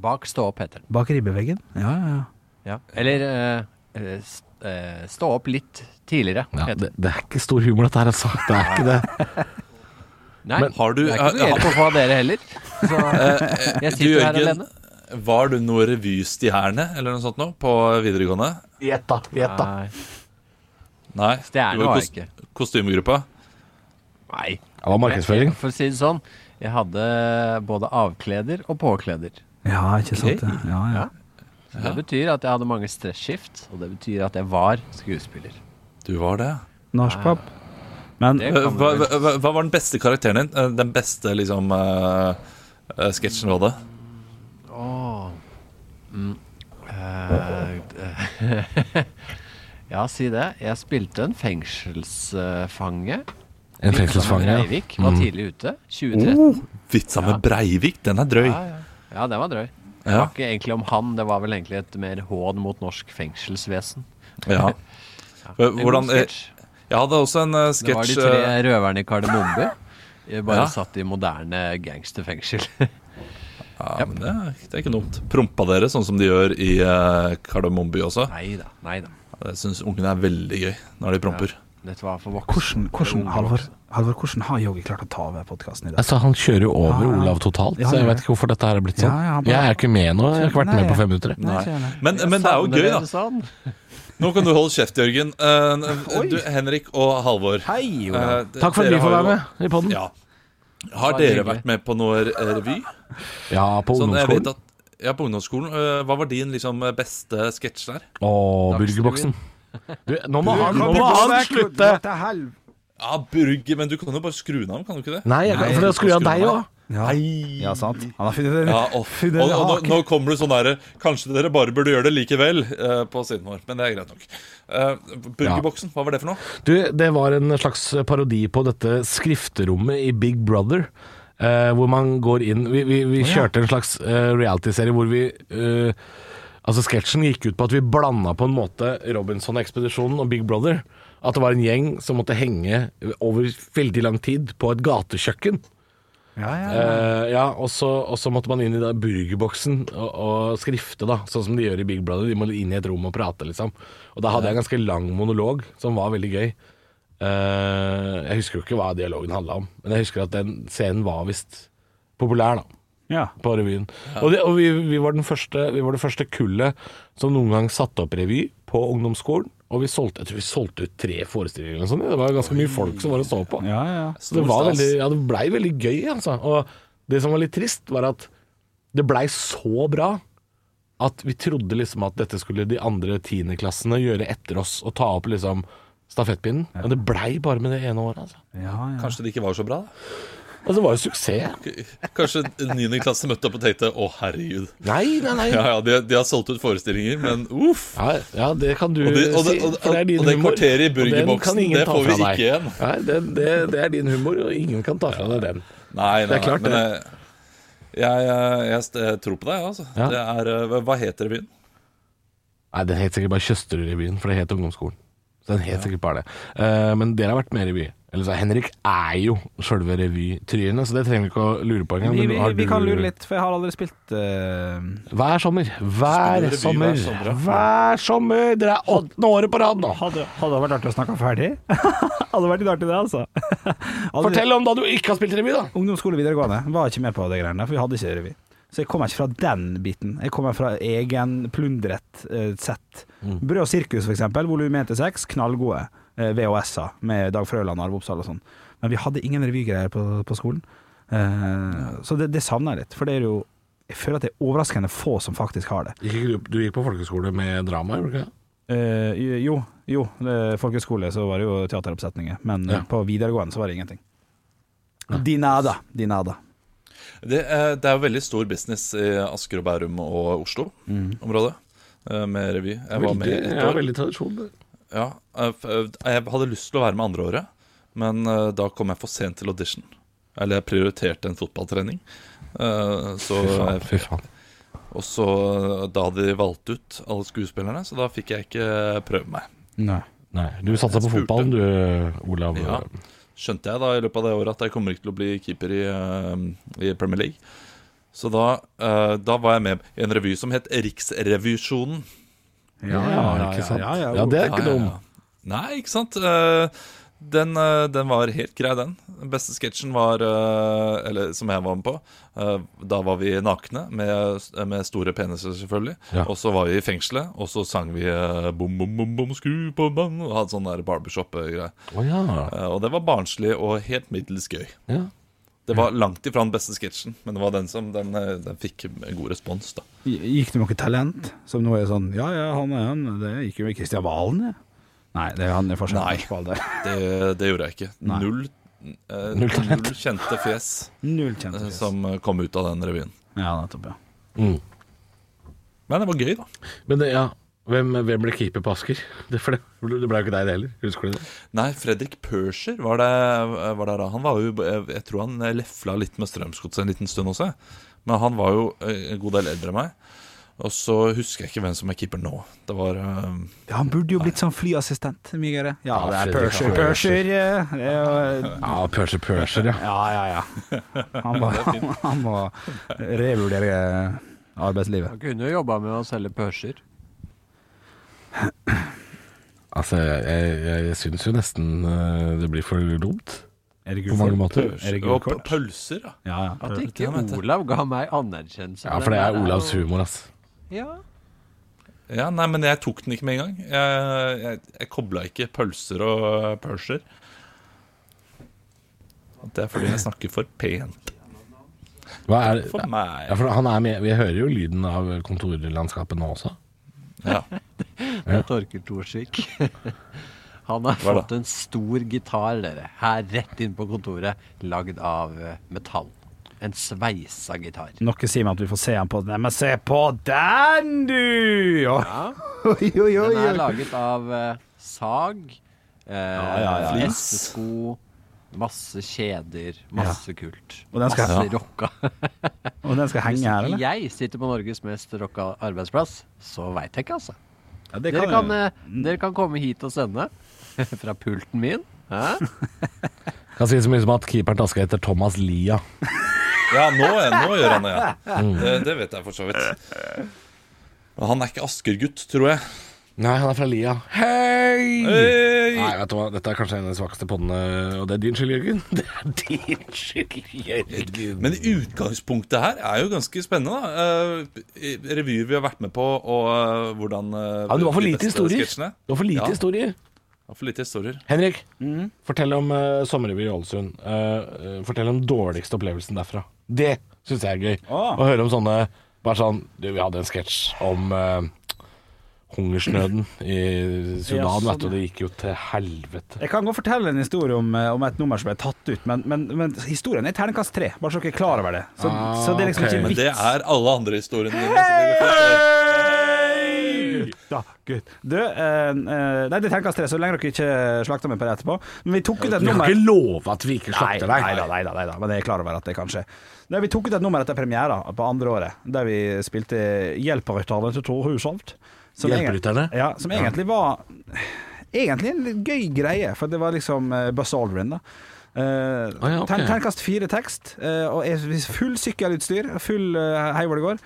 K: Bak stå opp heter den.
D: Bak ribbeveggen? Ja, ja, ja.
K: Eller eh, eh, s- eh, Stå opp litt tidligere.
C: ja,
K: heter den.
C: det, det er ikke stor humor dette her, altså. Det er ikke det.
K: Nei,
E: Har du,
K: det er ikke noe hjelp å få av dere heller. Så jeg
E: du,
K: sitter her
E: Jørgen,
K: alene.
E: var du noe revystjerne eller noe sånt nå på videregående?
C: Gjett, da. Gjett, da.
K: Nei.
E: Nei,
K: Stjerne
E: du
K: var
E: var
K: jeg ikke.
E: kostymegruppa.
K: Nei.
C: Det var markedsføring.
K: For å si det sånn, jeg hadde både avkleder og påkleder.
D: Ja, ikke sant det. Ja, ja.
K: Så Det betyr at jeg hadde mange stresskift, og det betyr at jeg var skuespiller.
E: Du var det.
D: Nachspap. Men
K: Det
E: Hva,
K: kan
E: hva,
K: man vel-
E: hva hva var den beste karakteren din? Eh, Den beste liksom eh, eh, sketsjen du hadde?
K: Åh. Mm. Eh, ja, si det. Jeg spilte en fengselsfange.
C: En fengselsfange. ja.
K: Breivik var tidlig ute. 2013.
E: Vitsa med Breivik, den er drøy.
K: Ja, ja. ja, den var drøy. Det
E: Ja.
K: var ikke egentlig om han, det var vel egentlig et mer hån mot norsk fengselsvesen.
E: Ja.
K: En
E: Hvordan,
K: god
E: eh,
K: sketsj.
E: jeg hadde også en eh,
K: Det var de
E: sketsj
K: tre
E: eh,
K: røverne i
E: [laughs]
K: Kardemomme. eh, Bare
E: Ja.
K: satt i moderne gangsterfengsel.
E: ja, men det, er- det er ikke dumt. Prompa dere sånn som de gjør i eh, Kardemomme by også?
K: nei da, nei da.
E: Jeg syns ungene er veldig gøy når de promper.
K: Dette var for voksen.
D: hvordan, hvordan, Halvor, Halvor, hvordan har Yogi klart å ta over podkasten i dag?
C: Altså, han kjører jo over
D: Ja, ja.
C: Olav totalt,
D: Ja,
C: så jeg
D: ja.
C: vet ikke hvorfor dette her er blitt sånn.
D: Ja, ja, han bare-
C: Jeg er ikke med nå. Jeg har ikke vært
D: Nei,
C: med på
D: ja.
C: fem minutter. jeg.
D: Nei, ikke gjerne.
E: Men, men det er jo gøy, da.
K: Sånn.
E: Nå kan du holde kjeft, Jørgen. Eh, du, Henrik og Halvor.
D: Hei,
E: eh,
D: Olav.
E: d-
C: Takk for at
E: dere
C: vi får
E: har
C: være
E: jo-
C: med i podden.
E: Ja. Har
K: Det var
E: dere
K: hyggelig.
E: vært med på noe eh, revy?
C: Ja, på
E: Sånn, jeg vet
C: ungdomsskolen.
E: at, ja, på ungdomsskolen. Eh, Hva var din liksom, beste sketsj der?
C: Å, burgerboksen. Du, nå må han, nå må han slutte!
E: Ja, Burger, men du kan jo bare skru den av, kan du ikke det?
C: Nei, jeg, kan- for da skrur han deg òg.
D: Ja. ja, sant. Han har funnet en,
E: Ja,
C: [laughs]
E: og, og,
D: funnet en
E: og nå,
D: hake.
E: nå kommer det sånn derre Kanskje dere bare burde gjøre det likevel eh, på siden vår, men det er greit nok. Eh, burgerboksen, hva var det for noe?
C: Du, det var en slags parodi på dette skrifterommet i Big Brother. eh, hvor man går inn Vi, vi, vi kjørte en slags eh, reality-serie hvor vi eh, Altså Sketsjen gikk ut på at vi blanda på en måte Robinson-ekspedisjonen og Big Brother. At det var en gjeng som måtte henge over veldig lang tid på et gatekjøkken. Eh, ja, og så, og så måtte man inn i da burgerboksen og, og skrifte, da. Sånn som de gjør i Big Brother. De må inn i et rom og prate, liksom. Og da hadde jeg en ganske lang monolog, som var veldig gøy. Eh, jeg husker jo ikke hva dialogen handla om, men jeg husker at den scenen var visst populær, da.
D: Ja.
C: På revyen. Og, det, og vi, vi, var den første, vi var det første kullet som noen gang satte opp revy på ungdomsskolen. Og vi solgte, jeg tror vi solgte ut tre forestillinger eller noe sånt. Det var ganske mye folk som var og så på.
D: Ja, ja, ja.
C: Så det, var veldig, ja, det blei veldig gøy, altså. Og det som var litt trist, var at det blei så bra at vi trodde liksom at dette skulle de andre tiendeklassene gjøre etter oss og ta opp liksom stafettpinnen. Men det blei bare med det ene året, altså.
D: Ja, ja.
E: Kanskje det ikke var så bra? da?
C: Altså, det var jo suksess.
E: Kanskje 9. klasse møtte opp og tenkte 'Å, herregud'.
C: Nei, nei, nei.
E: Ja, ja, de, de har solgt ut forestillinger, men uff.
C: Ja, ja, det kan du
E: Og det- og det-
C: si.
E: og-
C: for er din
E: og det
C: humor.
E: kvarteret i
C: Og den
E: burgerboksen,
C: kan ingen
E: det
C: ta
E: får vi
C: fra deg.
E: ikke igjen.
C: Nei, det, det, det er din humor, og ingen kan ta fra deg den.
E: Nei, nei,
C: Det er klart
E: nei, men jeg, jeg, jeg, jeg tror på deg, altså.
C: Ja.
E: Det er, eh, hva- hva heter revyen?
C: Nei, den het sikkert bare Tjøsterud-revyen, for det het ungdomsskolen. Så den het sikkert bare det. Eh, men dere har vært med i revy. Eller så Henrik er jo sjølve revytrynet, så det trenger vi ikke å lure på engang.
D: Vi,
C: men
D: vi,
C: har
D: vi
C: du-
D: kan lure litt, for jeg har aldri spilt eh,
C: Hver sommer. Hver
E: Spiller revy
C: sommer.
E: hver sommer, ja.
C: Hver sommer! Dere er åttende året på rad nå.
D: hadde, hadde det vært artig å snakke ferdig? hadde vært litt artig, det, altså. Aldri-
C: Fortell om da du ikke har spilt revy, da.
D: Ungdomsskole videregående var ikke med på det greiene, der, for vi hadde ikke revy. Så jeg kommer ikke fra den biten. Jeg kommer fra egen plundret eh, sett. Brød og sirkus, for eksempel, volum 1 til 6, knallgode eh, VHS-er med Dag Frøland og Arve Oppsal og sånn. Men vi hadde ingen revygreier på, på skolen. Eh, Så det, det savner jeg litt, for det er jo Jeg føler at det er overraskende få som faktisk har det.
C: Gikk ikke Du, du gikk på folkeskole med drama, gjorde du ikke det?
D: Eh, jo, jo, eh, folkehøyskole så var det jo teateroppsetninger, men eh,
C: Ja.
D: på videregående så var det ingenting. Dinada, dinada.
E: Det, eh, det er jo veldig stor business i Asker og Bærum og Oslo-området eh, med revy. Jeg var med
C: Veldig,
E: ett
C: ja,
E: år.
C: veldig tradisjon. det.
E: Ja, eh, f- eh, jeg hadde lyst til å være med andre året, men eh, da kom jeg for sent til audition. Eller jeg prioriterte en fotballtrening. Eh, Så,
C: Fy faen.
E: og så eh, da hadde de valgt ut alle skuespillerne, så da fikk jeg ikke eh, prøve meg.
D: Nei.
C: Nei, du satsa på
E: spurte.
C: fotballen du, Olav.
E: Ja. Skjønte jeg da i løpet av det året at jeg kommer ikke til å bli keeper i, eh, i Premier League. Så da, eh, da var jeg med i en revy som het Riksrevisjonen.
C: Ja, ikke sant?
D: ja, ja,
C: det er ikke
E: Ja, ja,
C: dum.
E: ja. Nei, ikke sant? Eh, Den, eh, den var helt grei, den. Den beste sketsjen var eh, Eller som jeg var med på. eh, Da var vi nakne, med, med store peniser, selvfølgelig.
C: Ja.
E: Og så var vi i fengselet, og så sang vi eh, Bom, bom, bom, bom, skru på bang Og hadde sånn der barbershop-greie.
C: Å ja.
E: Eh, Og det var barnslig og helt middels gøy.
C: ja.
E: Det var langt ifra den beste sketsjen, men det var den som den, eh, den fikk god respons, da.
D: Gikk det med noe talent? Som nå er sånn Ja, ja, han er han. Det gikk jo med Kristian Valen, jeg. Nei, det er han er forskjell.
E: Nei.
D: på alle.
E: Det, det gjorde jeg ikke.
D: Nei.
E: Null, eh,
C: Null
E: null
C: talent.
E: kjente fjes
D: [laughs] Null
E: eh,
D: kjente
E: som eh, kom ut av den revyen.
D: Ja, nettopp, ja.
C: Mm.
E: Men det var gøy, da.
C: Men det, ja, hvem, hvem ble keeper på Asker? Det, for det, det ble jo ikke deg det heller, husker du det?
E: Nei, Fredrik Perscher var det, var det da. Han var jo, jeg tror han eh, lefla litt med Strømsgodset en liten stund også. Men han var jo eh, en god del eldre enn meg. Og så husker jeg ikke hvem som er keeper nå. Det var eh,
D: Ja, Han burde jo blitt sånn flyassistent. Mye gøyere. Ja,
C: Ja,
D: det er
C: Fredrik
D: Persher.
C: Hagen.
D: Persher eh, det er jo-
C: Ja, Pørser Pørser, ja.
D: Ja, ja, ja. [laughs] Han må, [laughs] han, han må revurdere arbeidslivet.
K: Han kunne jo jobba med å selge pørser.
C: Altså, jeg, jeg, jeg syns jo nesten eh, det blir for dumt.
D: Er det
C: På
D: gult
C: mange
D: kort?
C: måter.
D: Er det
E: og
D: gult
E: P-
D: kort?
E: Pølser, ja.
D: Ja, ja.
K: At
E: det
K: ikke
E: er det.
K: Olav ga meg anerkjennelse.
C: Ja, for det er
K: den der
C: Olavs
K: jo-
C: humor, ass.
K: Ja.
E: ja. Nei, men jeg tok den ikke med en gang. Jeg, jeg, jeg kobla ikke pølser og eh, Perscher. Det er fordi jeg snakker for pent
C: Hva er
E: for
C: ja,
E: meg.
C: for han er med, Vi hører jo lyden av kontorlandskapet nå også.
E: Ja.
C: Ja.
K: Det er Torkel Thorsvik. Han har
E: Hva da?
K: fått en stor gitar, dere, her rett inn på kontoret, lagd av eh, metall. En sveisa gitar.
D: Noe sier meg at vi får se han på Nei, men se på den, du! Oi,
K: Ja.
D: [laughs] oi, oi.
K: Den
D: oi.
K: er laget av eh, sag, eh,
D: ja, ja.
K: hestesko, Masse kjeder, masse kult.
D: Og den skal-
K: masse
D: Ja.
K: rocka.
D: [laughs] Og den skal henge her,
K: Hvis
D: eller?
K: jeg sitter på Norges mest rocka arbeidsplass, så veit jeg ikke, altså.
D: Ja, det
K: dere,
D: kan
K: kan,
D: jo-
K: eh, dere kan komme hit og sende fra pulten min. Hæ?
C: Kan si så mye som at keeperen taska etter Thomas Lia.
E: Ja, nå, er- nå gjør han det, ja.
C: Mm.
E: Det, det vet jeg for så vidt. Men han er ikke Asker-gutt, tror jeg.
C: Nei, han er fra Lia. Hei!
E: Hei!
C: Nei, vet du hva, dette er kanskje en av de svakeste poddene, og det er din skyld, Jørgen. [laughs] Det er din skyld, Jørgen.
E: Men utgangspunktet her er jo ganske spennende. da Eh, Revyer vi har vært med på, og eh, hvordan eh,
C: Ja, du har for
E: de
C: lite
E: beste
C: historier.
E: sketsjene.
C: Du har for lite
E: Ja.
C: historier.
E: Jeg har For lite historier.
C: Henrik,
D: Mm.
C: fortell om uh, sommerrevy i Ålesund. Eh, eh, fortell om dårligste opplevelsen derfra. Det syns jeg er gøy.
D: Ah.
C: Å høre om sånne Bare sånn du, Vi hadde en sketsj om eh, hungersnøden i Sudan,
D: Ja, sånn,
C: vet du. og Det gikk jo til helvete.
D: Jeg kan godt fortelle en historie om, eh, om et nummer som ble tatt ut, men, men, men historien er terningkast tre, bare så dere er klar over det. Så, så det er liksom
C: ok.
D: ikke
E: Men
D: vits.
E: det er alle andre historiene dine. så det går fint.
D: Eh, Da, Gud. Du, eh, eh, nei, det er terningkast tre, så lenge dere ikke slakter meg på det etterpå. Men vi tok ut et
C: Vi kan
D: nummer
C: ikke love at vi ikke
D: Nei,
C: slakter
D: nei,
C: deg.
D: da, nei, da, nei da, men jeg er klar over at det kanskje Nei, Vi tok ut et nummer etter premiera på andre året, der vi spilte Hjelperytterne til Tor Hushovd. som egen-
C: Hjelperytterne?
D: Ja, som egentlig var Egentlig en litt gøy greie, for det var liksom eh, Buzz Aldrin, da. Eh,
C: Ah, ja, ok.
D: tern- Terningkast fire tekst, eh, og jeg- hvis full sykkelutstyr, full eh, hei hvor det går.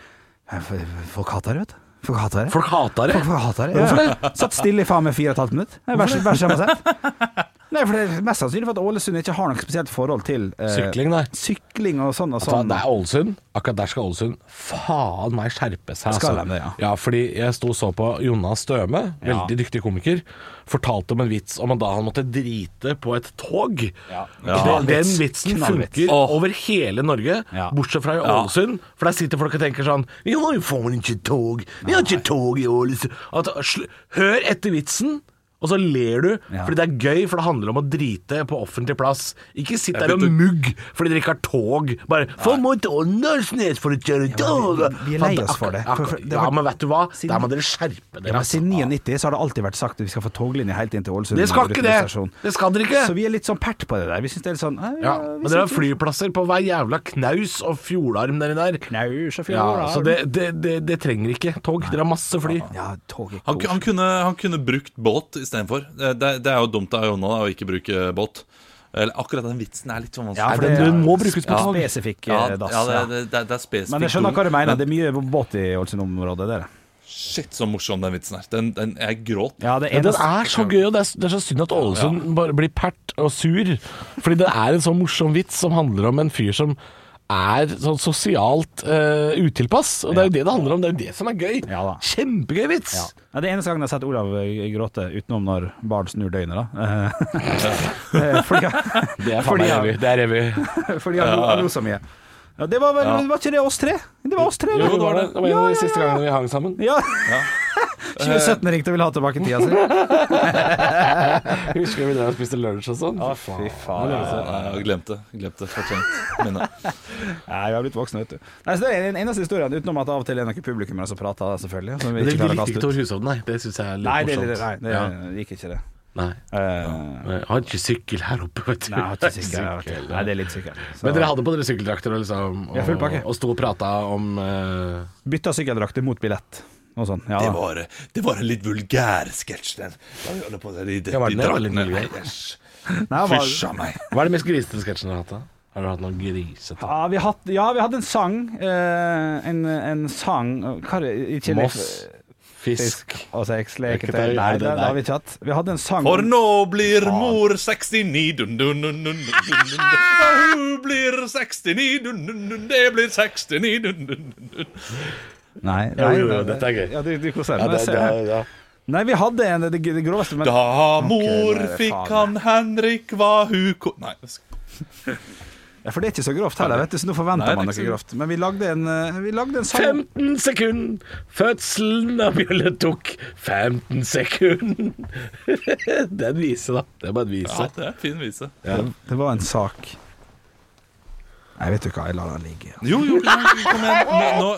D: Eh, f- Folk hater det, vet du. Folk hater det.
C: Folk hata det.
D: Folk folk hater det. Hvorfor det? Satt stille i faen meg fire og et halvt minutt. Det er Verst verst jeg har sett. Nei, for det er mest sannsynlig for at Ålesund ikke har noe spesielt forhold til eh,
C: Sykling, nei.
D: Sykling og sånn og
C: Ta,
D: sånn.
C: det er Ålesund. Akkurat der skal Ålesund faen meg skjerpe seg. altså.
D: Skal de det, ja.
C: fordi jeg sto og så på Jonas Støme, veldig dyktig komiker, fortalte om en vits om at da han måtte drite på et tog. Den, den vitsen
D: Knallvits.
C: funker
E: Åh.
C: over hele Norge,
D: Ja.
C: bortsett fra i Ålesund. For der sitter folk og tenker sånn Vi har jo faen ikke tog! Vi har ikke tog i Ålesund! At, sl hør etter vitsen! Og så ler du,
D: Ja.
C: fordi det er gøy, for det handler om å drite på offentlig plass. Ikke sitt
E: Jeg
C: der og
E: begynte-
C: mugg fordi dere ikke har tog. Bare For mot Åndalsnes for å kjøre tog!
D: vi- vi er lei oss for det. For- for- det
C: Ja,
D: var-
C: men vet du hva?
D: Siden-
C: Der må dere skjerpe
D: Ja,
C: dere.
D: men
C: ass.
D: Siden 99 så har det alltid vært sagt at vi skal få toglinje helt inn til Ålesund.
C: Dere skal ikke det!
D: rutebilstasjon.
C: Det skal dere ikke!
D: Så vi er litt sånn pert på det der. Vi syns det er litt sånn eh,
C: Ja,
D: vi
C: men dere har
D: synes-
C: flyplasser på hver jævla knaus og fjordarm nedi der.
D: Knaus og
C: Ja,
D: fjordarm.
C: så det, det, det, det trenger ikke tog. Dere har masse fly.
D: Ja, tog er
E: Han,
D: koselig.
E: han, kunne, han kunne brukt båt istedenfor. Det, det, det er jo dumt av Jonna da, å ikke bruke båt. Eller akkurat den vitsen er litt sånn vanskelig.
D: Ja, for
C: Nei,
D: det
C: den- den
D: er
C: må brukes på tog.
D: Spesifikk
E: Ja,
D: eh, dass.
E: ja, det,
D: Ja,
E: det, det, det er spesifikt.
D: Men jeg skjønner hva
E: ord.
D: du mener. Det er mye båt i Ålesund-området, dere.
E: Shit, så morsom den vitsen er. Den, den, jeg gråt.
D: Ja, det
C: Men den
D: eneste-
C: er så gøy, og det er, det er så synd at Ålesund bare blir pert og sur. Fordi det er en sånn morsom vits som handler om en fyr som er sånn sosialt eh, utilpass. Og det er jo det det handler om. Det er jo det som er gøy.
D: Ja da.
C: Kjempegøy vits!
D: Ja. Nei, det er eneste gangen jeg har sett Olav eh, gråte, utenom når barn snur døgnet, da. [laughs] Eh, fordi,
C: [laughs] Det er faen meg
D: Fordi-
C: revy. Det er revy.
D: fordi han lo- han lo så mye. Ja, det var vel det var ikke det oss tre? Det var oss tre,
C: Jo,
D: eller?
C: det var det. Det var en av de siste gangene vi hang sammen.
D: Ja. [laughs] 2017 ringte og ville ha tilbake tida
C: [laughs]
D: si.
C: Jeg husker vi drev og spiste lunsj og sånn.
D: Fy faen.
C: altså.
E: Nei, jeg glemte glemte fortrengt minne.
D: Nei, vi har blitt voksne, vet du. Nei, så det er den eneste historien, utenom at av og til er det noen publikummere som prater, selvfølgelig. Som vi
C: Men det
D: ikke klarer å
C: likte ikke
D: kaste ut.
C: Tor Hushovd, nei. Det syns jeg er
D: Nei,
C: litt
D: det, det, nei,
C: morsomt.
D: det gikk ikke, det.
C: Nei.
D: Eh,
C: Jeg har ikke sykkel her oppe, vet du.
D: Nei, jeg har ikke sykkel. jeg har ikke- Nei, det er litt sikkert. Så-
C: Men dere hadde på dere sykkeldrakter og liksom
D: Ja, full
C: og,
D: pakke.
C: og sto og prata om eh,
D: Bytta sykkeldrakter mot billett og sånn. [laughs] Ja,
E: Det
D: da.
E: var, det var en litt vulgær sketsj, den. Da gjør det på seg de, de,
C: Ja, var
E: de
C: den det? Var den litt
E: draktene.
C: vulgær?
E: Æsj.
D: Nei, det var-
E: Fysj a meg.
C: Hva er de mest grisete sketsjene dere har hatt? da? Har dere hatt noen grisete?
D: Ja, vi hadde, ja, vi hadde en sang. eh, en, en sang Hva er det? Altså, Ikke lek-
C: Moss, fisk
D: og
C: Leketøy,
D: sexleketøy. Nei,
C: nei,
D: det, det
C: nei.
D: har vi ikke hatt. Vi hadde en sang
E: For nå blir mor 69, dun, dun, dun, dun, dun, dun, dun. Og hun blir 69, dun, dun, dun. Det blir 69, dun, dun, dun, dun.
D: Nei, nei,
C: jo,
D: nei,
C: dette er gøy.
D: Ja, du, du koser deg.
C: Ja,
D: men jeg
C: det-
D: ser det.
C: det- ja.
D: Nei, vi hadde en, det, det groveste, men
E: Da
D: Ok,
E: mor
D: nå er det
E: fikk
D: faen
E: han Henrik, var hun ko... Nei.
D: Ja, For det er ikke så grovt heller, vet du, så nå forventer
E: Nei,
D: man
E: det er
D: noe
E: ikke
D: grovt. Men vi lagde en, eh, vi lagde en sang
C: 15 sekund! Fødselen av Bjølle tok 15 sekund! [laughs] det er en vise, da. Det er bare en
E: Ja,
C: vise.
E: det er en fin vise.
D: Det var en sak Nei, vet du hva, jeg lar den ligge.
E: Jo, jo, kom igjen. Nå, nå,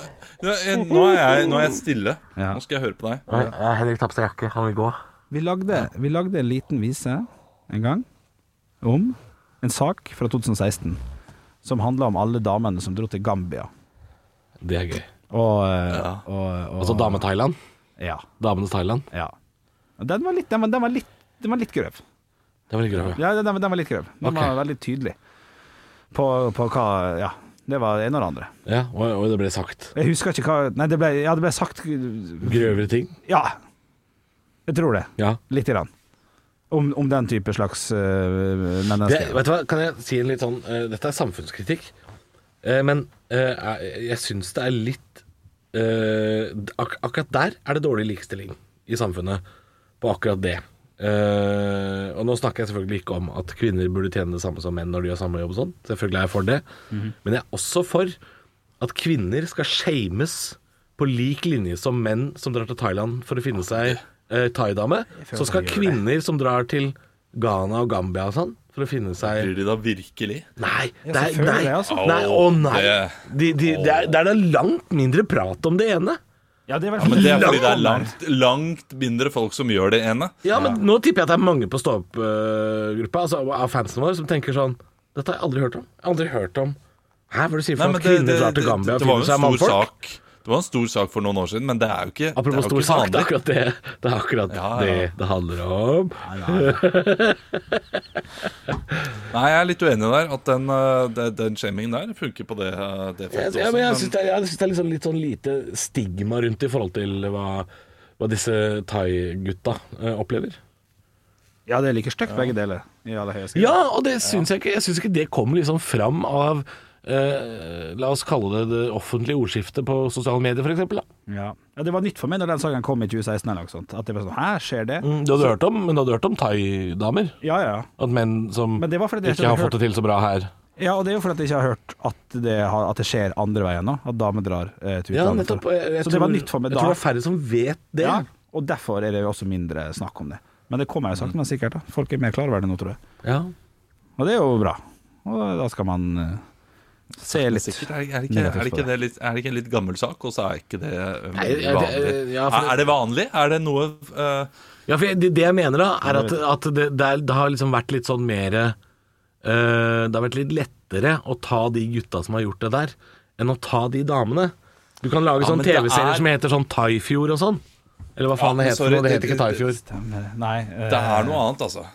E: nå, er- nå, er jeg, nå er jeg stille.
D: Ja.
E: Nå skal jeg høre på deg.
C: Henrik tapte jakke. Han vil gå.
D: Vi lagde, vi lagde en liten vise en gang om en sak fra 2016 som handla om alle damene som dro til Gambia.
C: Det er gøy.
D: Og, eh, og, og
C: Altså dame-Thailand.
D: Ja.
C: Damenes Thailand.
D: ja. Den var litt, den var, den var litt, den var litt grøv.
C: Det var litt grøv, ja.
D: Ja, den, den var- den var litt grøv. Den
C: Ok.
D: var veldig tydelig på, på hva Ja, det var det ene og det andre.
C: ja og, og det ble sagt.
D: Jeg husker ikke hva Nei, det ble, ja, det ble sagt
C: Grøvere ting.
D: Ja. Jeg tror det.
C: Ja.
D: Lite grann. Om, om den type slags øh,
C: Det,
D: mennesker.
C: vet du hva, kan jeg si en litt sånn eh, Dette er samfunnskritikk, eh, men eh, jeg- jeg syns det er litt eh, ak Akkurat der er det dårlig likestilling i samfunnet, på akkurat det. Eh, og nå snakker jeg selvfølgelig ikke om at kvinner burde tjene det samme som menn når de gjør samme jobb og sånn. Selvfølgelig er jeg for det.
D: Mhm.
C: Men jeg er også for at kvinner skal shames på lik linje som menn som drar til Thailand for å finne seg eh, thaidame. Så skal kvinner som drar til Ghana og Gambia og sånn for å finne seg
E: Blir de da virkelig?
C: Nei, det er,
D: selvfølgelig
C: nei,
D: det, altså.
C: nei, å nei.
E: Det-
C: De, de, det, er, det er da langt mindre prat om det ene.
D: Ja, det er vel
E: Men det er fordi det er
D: Langt.
E: langt, langt mindre folk som gjør det ene.
C: Ja, men nå tipper jeg at det er mange på stå-opp-gruppa altså, av fansen vår som tenker sånn Dette har jeg aldri hørt om. Jeg har aldri hørt om Hæ, hva er det du sier for
E: Nei,
C: noe?
E: men
C: Kvinner drar til Gambia og
E: det var
C: finner
E: jo
C: seg
E: en stor
C: mannfolk?
E: sak Det var en stor sak for noen år siden, men det er jo ikke det
C: Apropos
E: er jo
C: stor
E: ikke
C: sak, det er
E: vanlig.
C: akkurat det det, er akkurat
E: Ja, ja.
C: det det handler om.
E: Nei, jeg er litt uenig der. At den, eh, det- den shamingen der funker på det, eh, det
C: Jeg,
E: feltet
C: jeg, men jeg
E: også.
C: syns det, er- jeg synes det er litt sånn, litt sånn lite stigma rundt i forhold til hva, hva disse thai-gutta eh, opplever.
D: Ja, det er like stygt begge deler. I aller høyeste grad.
C: Ja, og det syns jeg ikke. Jeg syns ikke det kommer liksom fram av eh, La oss kalle det det offentlige ordskiftet på sosiale medier, f.eks. Mm,
D: Ja. ja, det var nytt for meg når den saken kom i 2016 eller noe sånt. At det var sånn Hæ, skjer det?
C: du hadde hørt om, men du hadde hørt om thaidamer?
D: Ja, ja.
C: At menn som
D: Men det var fordi jeg
C: ikke har
D: hørt-
C: fått det til så bra her.
D: Ja, og det er jo fordi at jeg ikke har hørt at det, har, at det skjer andre veien nå. At damer drar eh, til
C: Ja,
D: utlandet.
C: nettopp.
D: for-
C: Jeg, jeg
D: Så
C: tror,
D: det var nytt for meg
C: jeg
D: da.
C: tror det er færre som vet det.
D: Ja, og derfor er det jo også mindre snakk om det. Men det kommer jo sakte, men sikkert. da Folk er mer klar over det nå, tror jeg.
C: Ja.
D: Og det er jo bra. Og da skal man eh, se
E: Men
D: litt
E: sikkert er, er, det ikke,
D: Mer
E: er, det
D: fokus på
E: ikke det litt, er det ikke en litt gammel sak, og så er ikke det eh,
C: Nei, jeg- jeg-
E: vanlig?
C: ja, for-
E: Er- Er det vanlig? Er det noe eh,
C: Ja, for jeg- det, det jeg mener da, er at, at det, det, er, det har liksom vært litt sånn mer eh, Det har vært litt lettere å ta de gutta som har gjort det der, enn å ta de damene. Du kan lage
E: Ja,
C: sånne
E: men det
C: TV-serier
E: er-
C: som heter sånn Thaifjord og sånn. Eller hva faen
E: men
C: det heter.
E: sorry,
C: for noe, det heter
E: det-
C: ikke
E: det-
C: Thaifjord.
D: Nei. eh,
E: Det er noe annet, altså.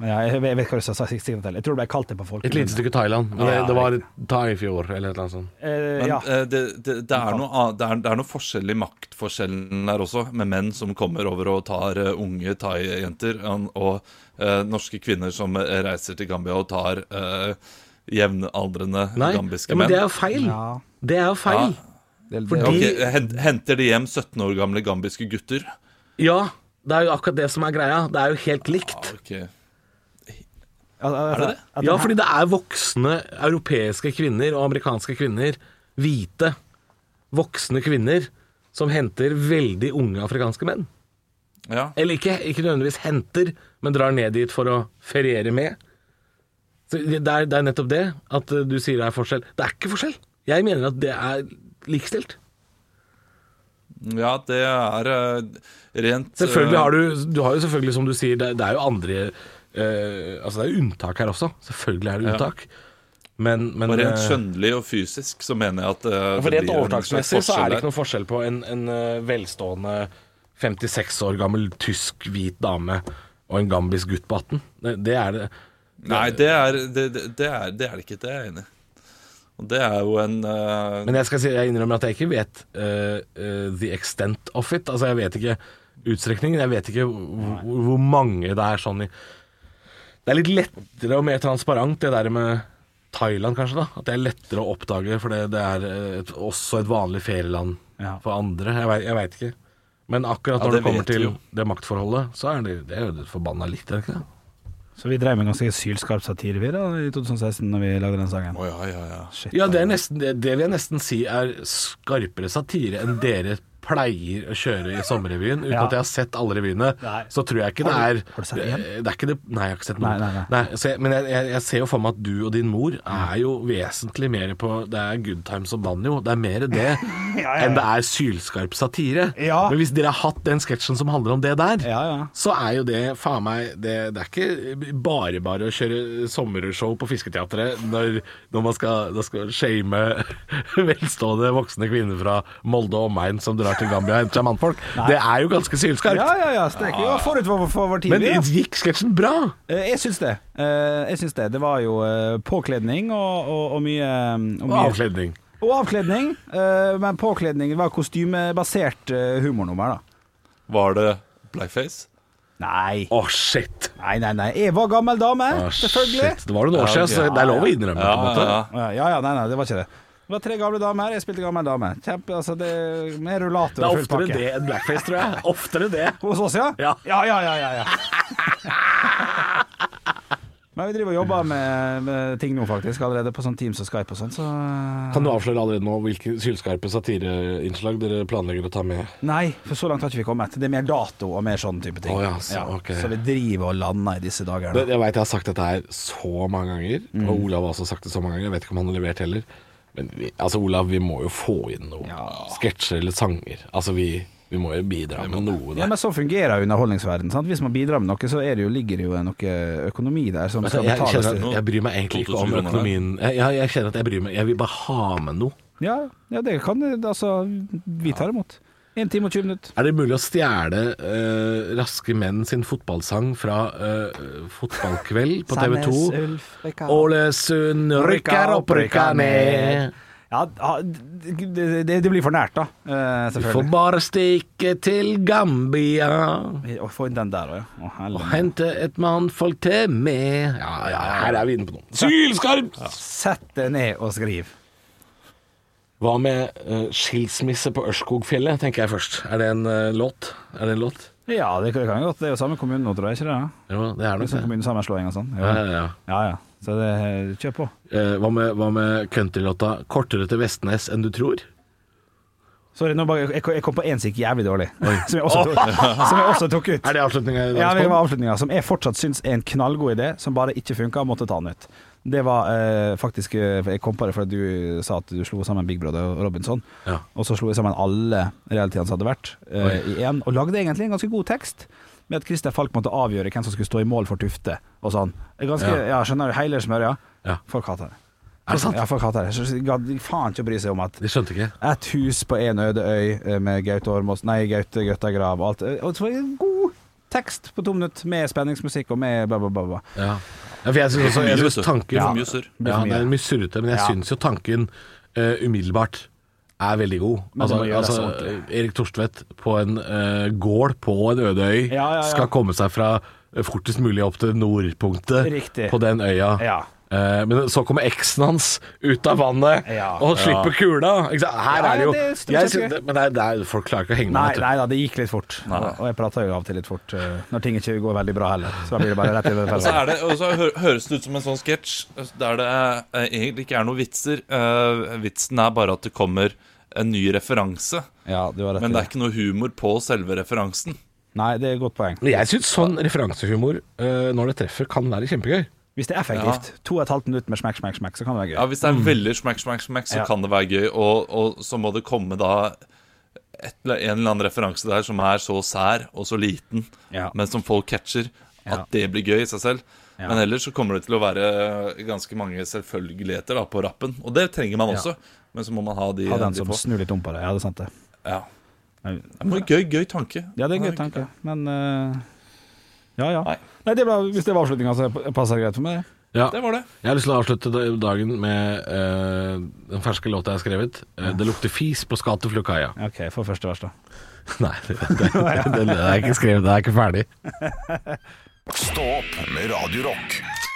D: men ja, jeg, vet- jeg vet hva du sa sist. Jeg tror det ble kalt det på folk.
C: Et lite stykke Thailand. Men det,
D: Ja,
C: det var Thaifjord eller et eller annet sånt.
D: Eh,
E: Men
D: ja.
E: eh, det, det, det, er noe, annet- det, er, det er noe forskjell i maktforskjellen der også, med menn som kommer over og tar eh, unge thai-jenter, an- og eh, norske kvinner som eh, reiser til Gambia og tar eh, jevnaldrende
C: Nei,
E: gambiske
C: ja, men
E: menn.
C: det er jo feil.
D: Ja.
C: Det er jo feil.
E: Ja.
D: Det-
C: Fordi-
D: det-
E: Ok, hent- Henter de hjem 17 år gamle gambiske gutter?
C: Ja, det er jo akkurat det som er greia. Det er jo helt likt.
E: Ja, ok.
D: Er
E: det det?
C: Ja, fordi det er voksne europeiske kvinner og amerikanske kvinner, hvite, voksne kvinner, som henter veldig unge afrikanske menn.
E: Ja.
C: Eller ikke, ikke nødvendigvis henter, men drar ned dit for å feriere med. Så det det er, det er nettopp det at eh, du sier det er forskjell. Det er ikke forskjell. Jeg mener at det er likestilt.
E: Ja, det er eh, rent
C: Selvfølgelig har du, du har jo selvfølgelig, som du sier, det, det er jo andre eh, Altså det er jo unntak her også. Selvfølgelig er det unntak. Men, men
E: Og rent
C: eh,
E: skjønnelig og fysisk så mener jeg at eh,
C: Ja, For rent
E: blir en slags
C: overtaksmessig så er
E: forskjell
C: det ikke noen forskjell på en, en eh, velstående 56 år gammel tysk-hvit dame og en gambisk gutt på 18. Det, det er det.
E: der. Nei, det er det, det, det er det er det ikke. Det er jeg enig i. Og det er jo en eh,
C: Men jeg skal si, jeg innrømmer at jeg ikke vet eh, eh, the extent of it. Altså jeg vet ikke utstrekningen. Jeg vet ikke hvor, hvor mange det er sånn i Det er litt lettere og mer transparent det der med Thailand, kanskje. da At det er lettere å oppdage, for det, det er eh, et, også et vanlig ferieland
D: Ja.
C: for andre. Jeg veit, jeg vet ikke. Men akkurat
E: Ja,
C: når det,
E: det
C: kommer
E: vet vi
C: til
E: jo.
C: det maktforholdet, så er det, det er jo det forbanna likt, er det ikke det?
D: Så vi drev med ganske sylskarp satire vi da i 2016 når vi lagde den sangen.
E: Å ja, ja, ja.
D: Shit,
C: Ja,
D: da.
C: det, er nesten, det, det vil jeg nesten si er skarpere satire enn dere pleier å kjøre i sommerrevyen, uten
D: Ja.
C: at jeg har sett alle revyene,
D: Nei.
C: så tror jeg ikke det er
D: Har du- har du sett én?
C: Det er ikke det, nei, jeg har ikke sett noen.
D: Nei, nei,
C: så jeg, men jeg, jeg, jeg ser jo for meg at du og din mor er jo vesentlig mer på Det er good times og banjo. Det er mer det
D: [laughs] ja, ja.
C: enn det er sylskarp satire.
D: Ja.
C: Men hvis dere har hatt den sketsjen som handler om det der,
D: Ja, ja.
C: så er jo det faen meg det, det er ikke bare bare å kjøre sommershow på Fisketeatret når, når man skal, da skal shame [laughs] velstående voksne kvinner fra Molde og omegn som drar til Gambia og henter seg mannfolk. Det er jo ganske sylskarpt.
D: Ja, ja, ja. Stek. Ja, forut for, for vår tid.
C: Ah. Men
D: ja.
C: gikk sketsjen bra?
D: Eh, Jeg syns det. Eh, Jeg syns det. Det var jo eh, påkledning og, og, og mye, mm, og mye
C: Avkledning.
D: Og avkledning. eh, Men påkledning var kostymebasert eh, humornummer, da.
E: Var det blackface?
D: Nei.
C: Å, shit.
D: Nei, nei, nei. Jeg var gammel dame,
C: Å, Ah, shit.
D: selvfølgelig.
C: Det var noen år
E: Ja,
C: siden,
E: ok.
C: så det er lov å innrømme det.
E: Ja,
C: på en måte.
E: ja,
D: Ja, ja, nei, nei, det var ikke det. Det var tre gamle damer, jeg spilte gammel dame. Kjempe, altså, det Med rullator
C: Det er
D: og full
C: oftere
D: pakke.
C: det enn blackface, tror jeg. Oftere det.
D: Hos oss, ja?
C: Ja.
D: ja, ja, ja, ja,
C: [laughs]
D: ja. Men vi driver og jobber med, med ting nå, faktisk, allerede på sånn Teams og Skype og sånn, så
C: Kan du avsløre allerede nå hvilke sylskarpe satireinnslag dere planlegger å ta med?
D: Nei, for så langt har ikke vi kommet. Det er mer dato og mer sånn type ting.
C: Å ja, så- ok.
D: så vi driver og lander i disse dager.
C: Det,
D: nå.
C: jeg veit jeg har sagt dette her så mange ganger, og Olav har også sagt det så mange ganger. Jeg vet ikke om han har levert heller. Men vi, altså, Olav, vi må jo få inn noen
D: Ja.
C: sketsjer eller sanger. Altså, vi, vi må jo bidra med noe
D: Ja,
C: der.
D: men så fungerer jo underholdningsverdenen. sant? Hvis man bidrar med noe, så er det jo, ligger det jo noe økonomi der som
C: Altså,
D: skal
C: jeg,
D: betales.
C: kjenner
D: til.
C: at jeg bryr meg egentlig ikke om
E: 2000 kroner
C: økonomien. Jeg, jeg, jeg kjenner at jeg bryr meg Jeg vil bare ha med noe.
D: Ja, ja, det kan Altså, vi tar imot. Én time og 20 minutter.
C: Er det mulig å stjele eh, Raske menn sin fotballsang fra eh, fotballkveld på TV 2? Åle Sund rykker opp, rykker ned.
D: Ja, ja, det, det, det blir for nært, da. Eh,
C: Du får
D: selvfølgelig.
C: bare stikke til Gambia.
D: Å, Få inn den der òg, ja. Å, helvete.
C: Hente et mannfolk til meg. Ja, ja, her er vi inne på noe. Sylskarpt!
D: Sett deg ned og skriv.
C: Hva med eh, skilsmisse på Ørskogfjellet, tenker jeg først. Er det en eh, låt? Er det en låt?
D: Ja, det, det kan jo godt. Det er jo samme kommune nå, tror jeg. ikke det? Ja?
C: Jo, det er
D: Det er
C: nok
D: sånn
C: det.
D: kommunesammenslåing og sånn.
C: Ja,
D: Ja,
C: ja, ja.
D: ja. ja. Så det, kjør på.
C: Eh, hva med, hva med countrylåta 'Kortere til Vestnes enn du tror'?
D: Sorry, nå bare, jeg, jeg kom på én som gikk jævlig dårlig, [laughs] som, jeg også tok, som jeg også tok ut.
C: Er det avslutninga i
D: Ja, det var
C: dagens
D: avslutninga, som jeg fortsatt syns er en knallgod idé, som bare ikke funka, og måtte ta den ut. Det var eh, faktisk eh, Jeg kom på det fordi du sa at du slo sammen Big Brother og Robinson.
C: Ja.
D: Og så slo jeg sammen alle realitetene som hadde vært, eh, i én, og lagde egentlig en ganske god tekst. Med at Christer Falk måtte avgjøre hvem som skulle stå i mål for Tufte og sånn. Ganske, ja. Skjønner du? Hele smørja.
C: Ja.
D: Folk hater det.
C: Er det sant?
D: Ja, folk hater det. Så de gadd faen ikke å bry seg om at
C: De skjønte ikke.
D: et hus på en øde øy eh, med Gaute Ormås Nei, Gaute Gøtta Grav og alt. Eh, Og så var det en god tekst på to minutter med spenningsmusikk og med bla, bla, bla. bla.
C: Ja. ja for jeg syns også jeg synes tanken
E: Ja. Mye surr.
C: Ja, det er mye surrete, men jeg
D: Ja.
C: syns jo tanken eh, umiddelbart er veldig god.
D: Men det
C: altså,
D: må gjøres
C: altså, Erik Torstvedt på en eh, gård på en øde øy
D: Ja, ja, ja.
C: skal komme seg fra eh, fortest mulig opp til nordpunktet
D: Riktig.
C: på den øya.
D: Ja.
C: Eh, men så kommer eksen hans ut av vannet
D: Ja.
C: og slipper kula. Ikke sant? Her
D: Ja,
C: er det jo
D: det er stort
C: jeg
D: sett
C: syns-
D: gøy.
C: Men det er, det er, folk klarer ikke å henge med.
D: Nei,
C: vet du.
D: nei da, det gikk litt fort. Og jeg prater jo av og til litt fort eh, når ting ikke går veldig bra heller. Så da blir det bare
E: [laughs]
D: rett i den
E: Og så,
D: fella.
E: er det, og så hø- høres det ut som en sånn sketsj der det eh, egentlig ikke er noen vitser. Eh, vitsen er bare at det kommer en ny referanse.
D: Ja, du har rett.
E: Men
D: i
E: det
D: det.
E: er ikke noe humor på selve referansen.
D: Nei, det er et godt poeng.
C: Men Jeg syns sånn referansehumor eh, når det treffer, kan være kjempegøy.
D: Hvis det er effektivt, to og et halvt minutt med smekk, smekk, smekk, så kan det være gøy.
E: Ja, Hvis det er veldig smack, smack, smack, så
D: Mm. Ja.
E: kan det være gøy. Og, og så må det komme da et, eller- en eller annen referanse der som er så sær og så liten,
D: Ja.
E: men som folk catcher.
D: Ja.
E: At det blir gøy i seg selv.
D: Ja.
E: Men ellers så kommer det til å være ganske mange selvfølgeligheter da, på rappen. Og det trenger man også. Men så må man ha de,
D: Ha den
E: de
D: som
E: få.
D: snur litt om på det. Ja, det er sant, det.
E: Ja.
D: Nei.
E: Det var en gøy, gøy tanke.
D: Ja, det er en gøy tanke, men eh, Ja, ja.
E: Nei.
D: Nei, det ble, hvis det var avslutninga, så passer det greit for meg. det.
C: Ja.
E: Det var det.
C: Jeg har lyst til å avslutte da- dagen med eh, den ferske låta jeg har skrevet. Eh, Det lukter fis på Skateflukaia.
D: OK, for første vers, da.
C: [laughs] Nei, det, det, [laughs] det, det er ikke skrevet, det er ikke ferdig.
A: Stå opp med Radio Rock.